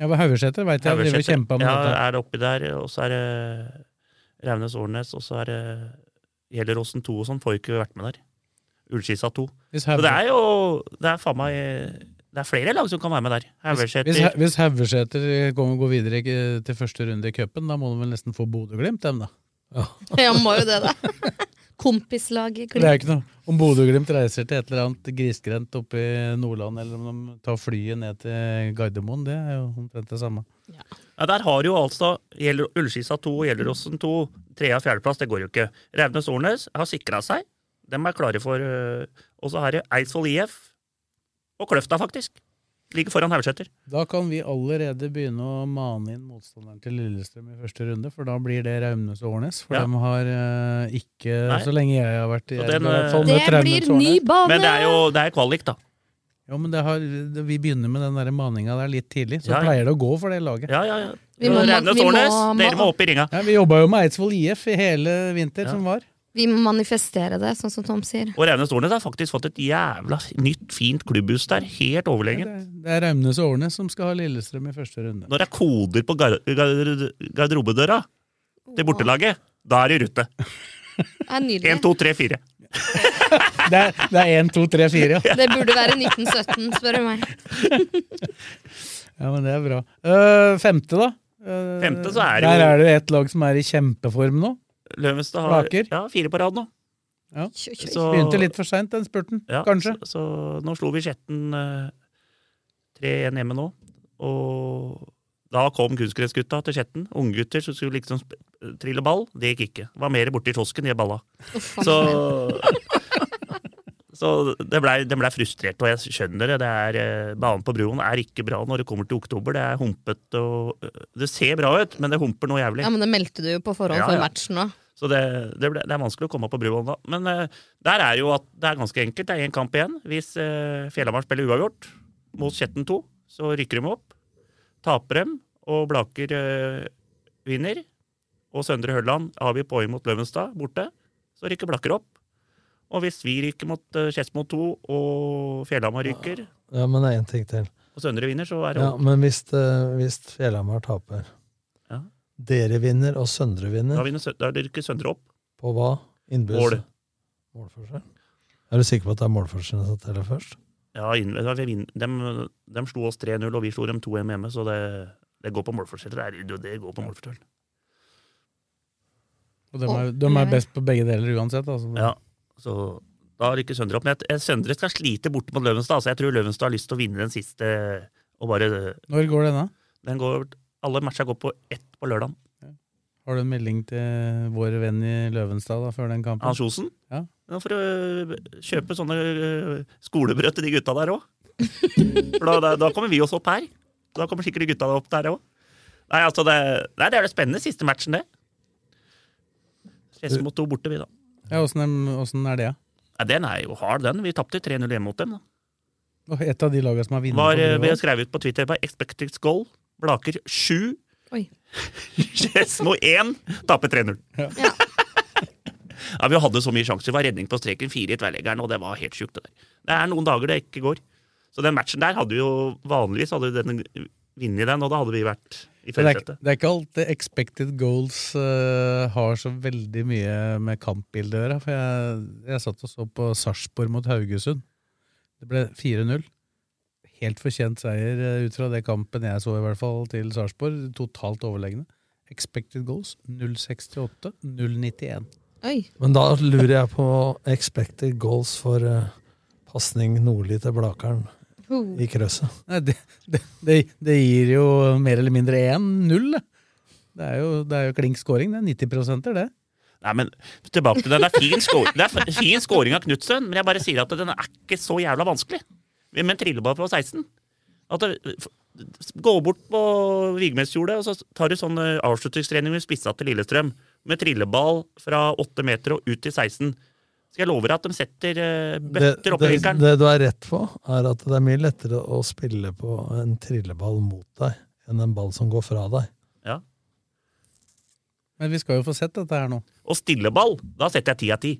Ja, men Haugeseter veit jeg driver og
Haugeseter.
kjemper med
ja,
dette.
er det oppi der, og så er det Raunes Årnes, og så er det Gjelleråsen 2 og sånn. Får jo ikke vært med der. Ullskisa 2.
Hvis
Så
Hauge-
det er jo Det er faen meg Det er flere lag som kan være med der. Haugeseter
Hvis, Hau- hvis Haugeseter eh, kommer og går videre ikke til første runde i cupen, da må de vel nesten få Bodø-Glimt, dem, da.
Ja, må jo det, da. Kompislag i
Det er jo
klubb.
ikke noe. Om Bodø-Glimt reiser til et eller annet grisgrendt oppe i Nordland, eller om de tar flyet ned til Gardermoen, det er jo omtrent det samme.
Ja, der har jo altså Gjeller- Ullskisa 2 og Gjelleråsen 2 tredje- og fjerdeplass. Det går jo ikke. Raunes Ornes har sikra seg. Dem er klare for øh, Og så har det Eidsvoll IF og Kløfta, faktisk. Ligger foran Haugeseter.
Da kan vi allerede begynne å mane inn motstanderen til Lillestrøm i første runde, for da blir det Raumnes og Årnes. For
Ja.
de har eh, ikke,
Nei.
så lenge jeg har vært i
Og
Jerv,
den,
i hvert fall
eh,
møtt
Det
Raumnes
blir
og
ny
Årnes.
bane! Men det er jo- det er kvalik, da.
Jo, men det har, det, vi begynner med den der maninga der litt tidlig, så
Ja, ja.
pleier det å gå for det laget.
Ja, ja, ja.
Vi må-
Raunes
vi må-
Ornes, dere må opp i ringa.
Ja, vi jobba jo med Eidsvoll IF i hele vinter som var.
Vi må manifestere det, sånn som Tom sier.
Og Raunes Ornes har faktisk fått et jævla nytt, fint klubbhus der. Helt overlegent.
Det er Raumnes og Årnes som skal ha Lillestrøm i første runde.
Når det er koder på gar gar garderobedøra til bortelaget, da er det i rute.
Det er nydelig.
1, 2, 3, 4.
Det er, det er 1, 2, 3, 4, ja.
Det burde være 1917, spør du meg.
Ja, men det er bra. Eh, femte, da. Eh,
Femte så er det
Der
jo-
er det jo et lag som er i kjempeform nå.
Løvenstad har
Aker.
ja, fire på rad nå.
Ja.
Så-
Begynte litt for seint, den spurten.
Ja,
Mm, Kanskje.
Så, så nå slo vi Skjetten eh, 3-1 hjemme nå. Og da kom kunstgressgutta til Skjetten. Unggutter som skulle liksom sp- trille ball. Det gikk ikke. Var mer borti kiosken, de balla. Så, så det blei det ble frustrert, og jeg skjønner det. det er, eh, banen på broen er ikke bra når det kommer til oktober. Det er humpete og eh, Det ser bra ut, men det humper noe jævlig.
Ja, men det meldte du jo på forhånd
Ja,
for
ja.
matchen òg.
Så det, det, ble, det er vanskelig å komme opp på broen da. Men eh, der er jo at det er ganske enkelt. Det er én kamp igjen. Hvis uh, Fjellhamar spiller uavgjort mot Skjetten 2, så rykker de opp. Taper dem, og Blaker eh, vinner. Og Søndre Hølland avgir poeng mot Løvenstad borte. Så rykker Blaker opp. Og hvis vi ryker mot uh, Skedsmo 2, og Fjellhamar ryker,
Ja, men det er én ting til.
og Søndre vinner, så er det
Ja, men hvis, det- hvis Fjellhamar taper
Ja.
Dere vinner, og Søndre
Da,
vinner.
vinner, Sø- da rykker Søndre opp.
På hva? Innbyrdes?
Mål.
Målforskjell? Er du sikker på at det er målforskjellen som teller først?
Ja, inn- ja, vi vin- dem, dem slo oss 3-0, og vi slo dem 2-1 hjemme, så det, det går på målforskjell. Det, er- det går på målforskjell.
Og de er, de er best på begge deler uansett. Altså.
Ja, så da rykker Søndre opp. Men jeg, jeg, Søndre skal slite borte mot Løvenstad, så jeg tror Løvenstad har lyst til å vinne den siste. Og bare,
Når går den, da?
den går, alle matcha går på ett på lørdag.
Har du en melding til vår venn i Løvenstad da, før den kampen?
Hans Osen?
Ja.
Nå får du øh, kjøpe sånne øh, skolebrød til de gutta der òg. For da, da, da kommer vi oss opp her. Da kommer sikkert de gutta opp der òg. Nei, altså det, nei, det er det spennende siste matchen, det. Skedsmo to borte, vi, da.
Ja, Åssen er- åssen er det?
Nei, den er jo hard, den. Vi tapte 3-0 hjemme mot dem. da.
da? Et av de lagene som har vunnet?
var, eh,
på grunn av-
vi skrev ut på Twitter på Expected Goal. Blaker 7.
Oi.
Skedsmo 1. Taper 3-0. Ja. Vi hadde så mye sjanser. Det var redning på streken, fire i tverrleggeren, og det var helt sjukt. Det, der. det er noen dager det ikke går. Så den matchen der hadde vi jo vanligvis hadde vi den, vunnet den, og da hadde vi vært i
Men det, er,
førersetet.
ikke- det er ikke alltid expected goals eh, har så veldig mye med kampbildet å gjøre. For jeg, jeg satt og så på Sarpsborg mot Haugesund. Det ble 4-0. Helt fortjent seier eh, ut fra det kampen jeg så, i hvert fall, til Sarpsborg. Totalt overlegne. Expected goals 068, 091.
Oi.
Men da lurer jeg på expected goals for uh, pasning nordlig til Blakeren
Ho.
i
Oh.
krøsset.
Nei, det, det, det, det gir jo mer eller mindre 1-0. det. Det er jo, det er jo klink scoring, det. 90 det.
Nei, men tilbake til den. Det er fin, sko- det er f- fin scoring av Knutsen, men jeg bare sier at den er ikke så jævla vanskelig. Med en trilleball på 16. At det, f- gå bort på Vigmestjordet, og så tar du sånn eh, avslutningstrening med spissa til Lillestrøm. Med trilleball fra 8 meter og ut til 16. Skal jeg love deg at de setter eh,
Det,
bøtter opp
det,
i vinkelen?
det du er rett på, er at det er mye lettere å spille på en trilleball mot deg enn en ball som går fra deg.
Ja.
Men vi skal jo få sett dette her nå.
Og stilleball, da setter jeg ti av ti.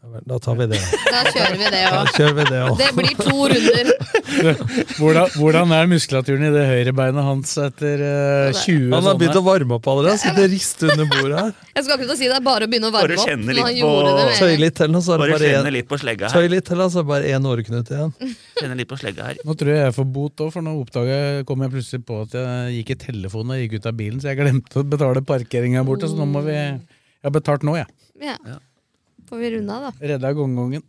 Ja vel, Da tar vi det.
Da kjører vi det
Da
òg.
kjører vi det
Det
òg.
blir to runder.
Hvordan, hvordan er muskulaturen i det høyre beinet hans etter eh, 20
Han har begynt
sånn,
å varme opp allerede. Han Sitter og rister under bordet her.
Jeg skal akkurat si det er bare å begynne å
Bare
varme opp.
kjenne
men
litt
han
på-
gjorde det med
Tøy litt til, nå, så er det
Bare
bare
kjenne
én-
litt på slegga
Tøy
her.
litt til, da, så er det bare én åreknut igjen.
Kjenne litt på slegga her.
Nå tror jeg jeg får bot òg, for nå oppdaga jeg, kom jeg plutselig på at jeg gikk i telefonen og gikk ut av bilen, så jeg glemte å betale parkeringa borte, så nå må vi Jeg har betalt nå, jeg.
Ja. Får vi runde av, da?
Redda gongongen.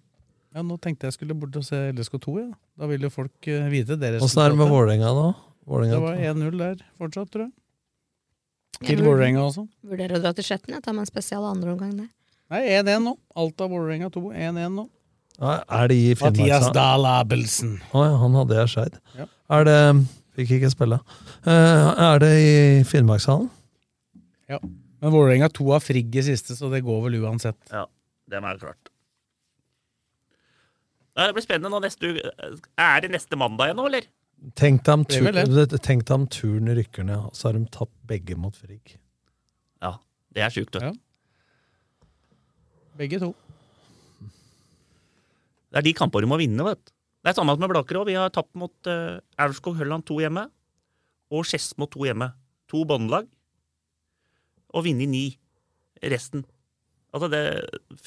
Ja, nå tenkte jeg skulle bort og se LSK2, ja. Da vil jo folk eh, vite deres
Åssen
sånn
er det med Vålerenga nå? Vålerenga-
Det var 1-0 der fortsatt, tror jeg. Til Vålerenga også.
Vurderer å dra til Skjetten. Jeg tar meg en spesial andre omgang der.
Nei, 1-1 nå. Alta Vålerenga 2, 1-1 nå.
Ja, Er det i Finnmark?
Mathias Dahl Abelsen.
Å ja, han hadde jeg skeid.
Ja.
Er det Fikk ikke spille. Eh, er det i Finnmarkshallen?
Ja. Men Vålerenga 2 har frigg i siste, så det går vel uansett.
Ja, det er klart. Nei, Det blir spennende nå neste uke. Er det neste mandag igjen nå, eller?
Tenk deg om,
Det er vel
tur, tenk deg om turen rykker ned, og så har de tapt begge mot Frigg.
Ja, det er sjukt. vet du.
Begge to.
Det er de kampene du må vinne, vet du. Det er samme med Blaker òg. Vi har tapt mot uh, Aurskog-Hølland 2 hjemme og Skedsmo 2 hjemme. To båndlag. Og vunnet ni. Resten. Altså det,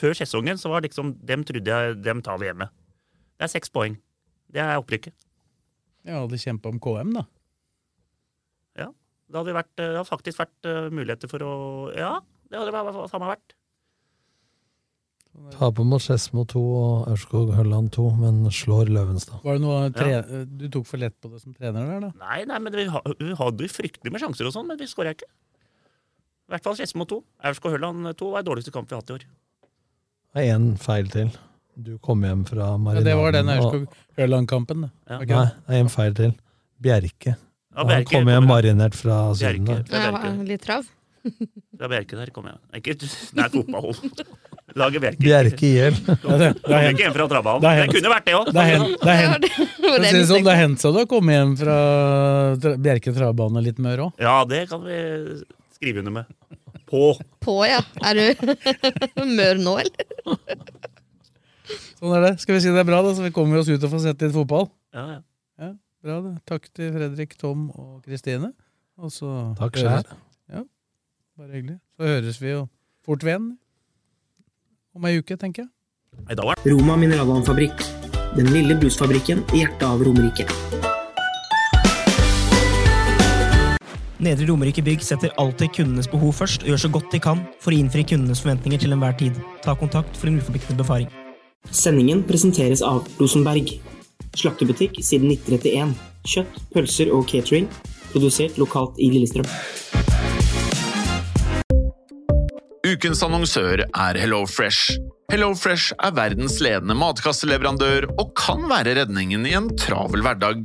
før sesongen så var liksom Dem trodde jeg dem tar vi hjemme. Det er seks poeng. Det er opprykket.
Ja, hadde kjempa om KM, da.
Ja. Det hadde, vært, det hadde faktisk vært eh, muligheter for å Ja, det hadde vært, vært- samme vært.
Taper mot Skedsmo 2 og Aurskog-Hølland 2, men slår Løvenstad.
Var det noe tre
Ja.
du tok for lett på det som trener der, da?
Nei, nei, men vi, ha- vi hadde jo fryktelig med sjanser og sånn, men vi skåra ikke. I hvert fall Skedsmo 2. Aurskog-Hølland 2 eh, var den dårligste kampen vi har hatt i år.
Det er én feil til. Du kom hjem fra Marinaden.
det var den
og-
Aurskog-Hølland-kampen, det.
Nei,
Var
det
ikke det?
er en feil til. Bjerke.
Ja,
Han
Bjerke
kom hjem marinert fra Syden der.
Fra Bjerke.
Ja, litt trav.
Fra Bjerke der kommer jeg. Ikke, det er fotball. Laget Bjerke.
Bjerke IL.
Det er ikke en fra Trabanen.
Det er
Det
hendt.
kunne vært det òg.
Det er hendt- det er hendt. For å si det sånn, det har hendt seg du har kommet hjem fra tra- Bjerke travbane litt mer òg.
Ja, det kan vi skrive under med. På.
På, ja. Er du mør nå, eller?
Sånn er det. Skal vi si det er bra, da, så vi kommer oss ut og får sett litt fotball?
Ja, ja.
Ja, bra det. Takk til Fredrik, Tom og Kristine. Og så
Takk
høres-
selv.
Ja, bare hyggelig. Så høres vi jo fort ved igjen. Om ei uke, tenker jeg.
Roma mineralvannfabrikk. Den lille brusfabrikken i hjertet av Romerike.
Nedre Romerike Bygg setter alltid kundenes behov først og gjør så godt de kan for å innfri kundenes forventninger til enhver tid. Ta kontakt for en uforpliktende befaring.
Sendingen presenteres av Rosenberg. Slaktebutikk siden 1931. Kjøtt, pølser og catering. Produsert lokalt i Lillestrøm.
Ukens annonsør er HelloFresh. HelloFresh er verdens ledende matkasseleverandør og kan være redningen i en travel hverdag.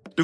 Du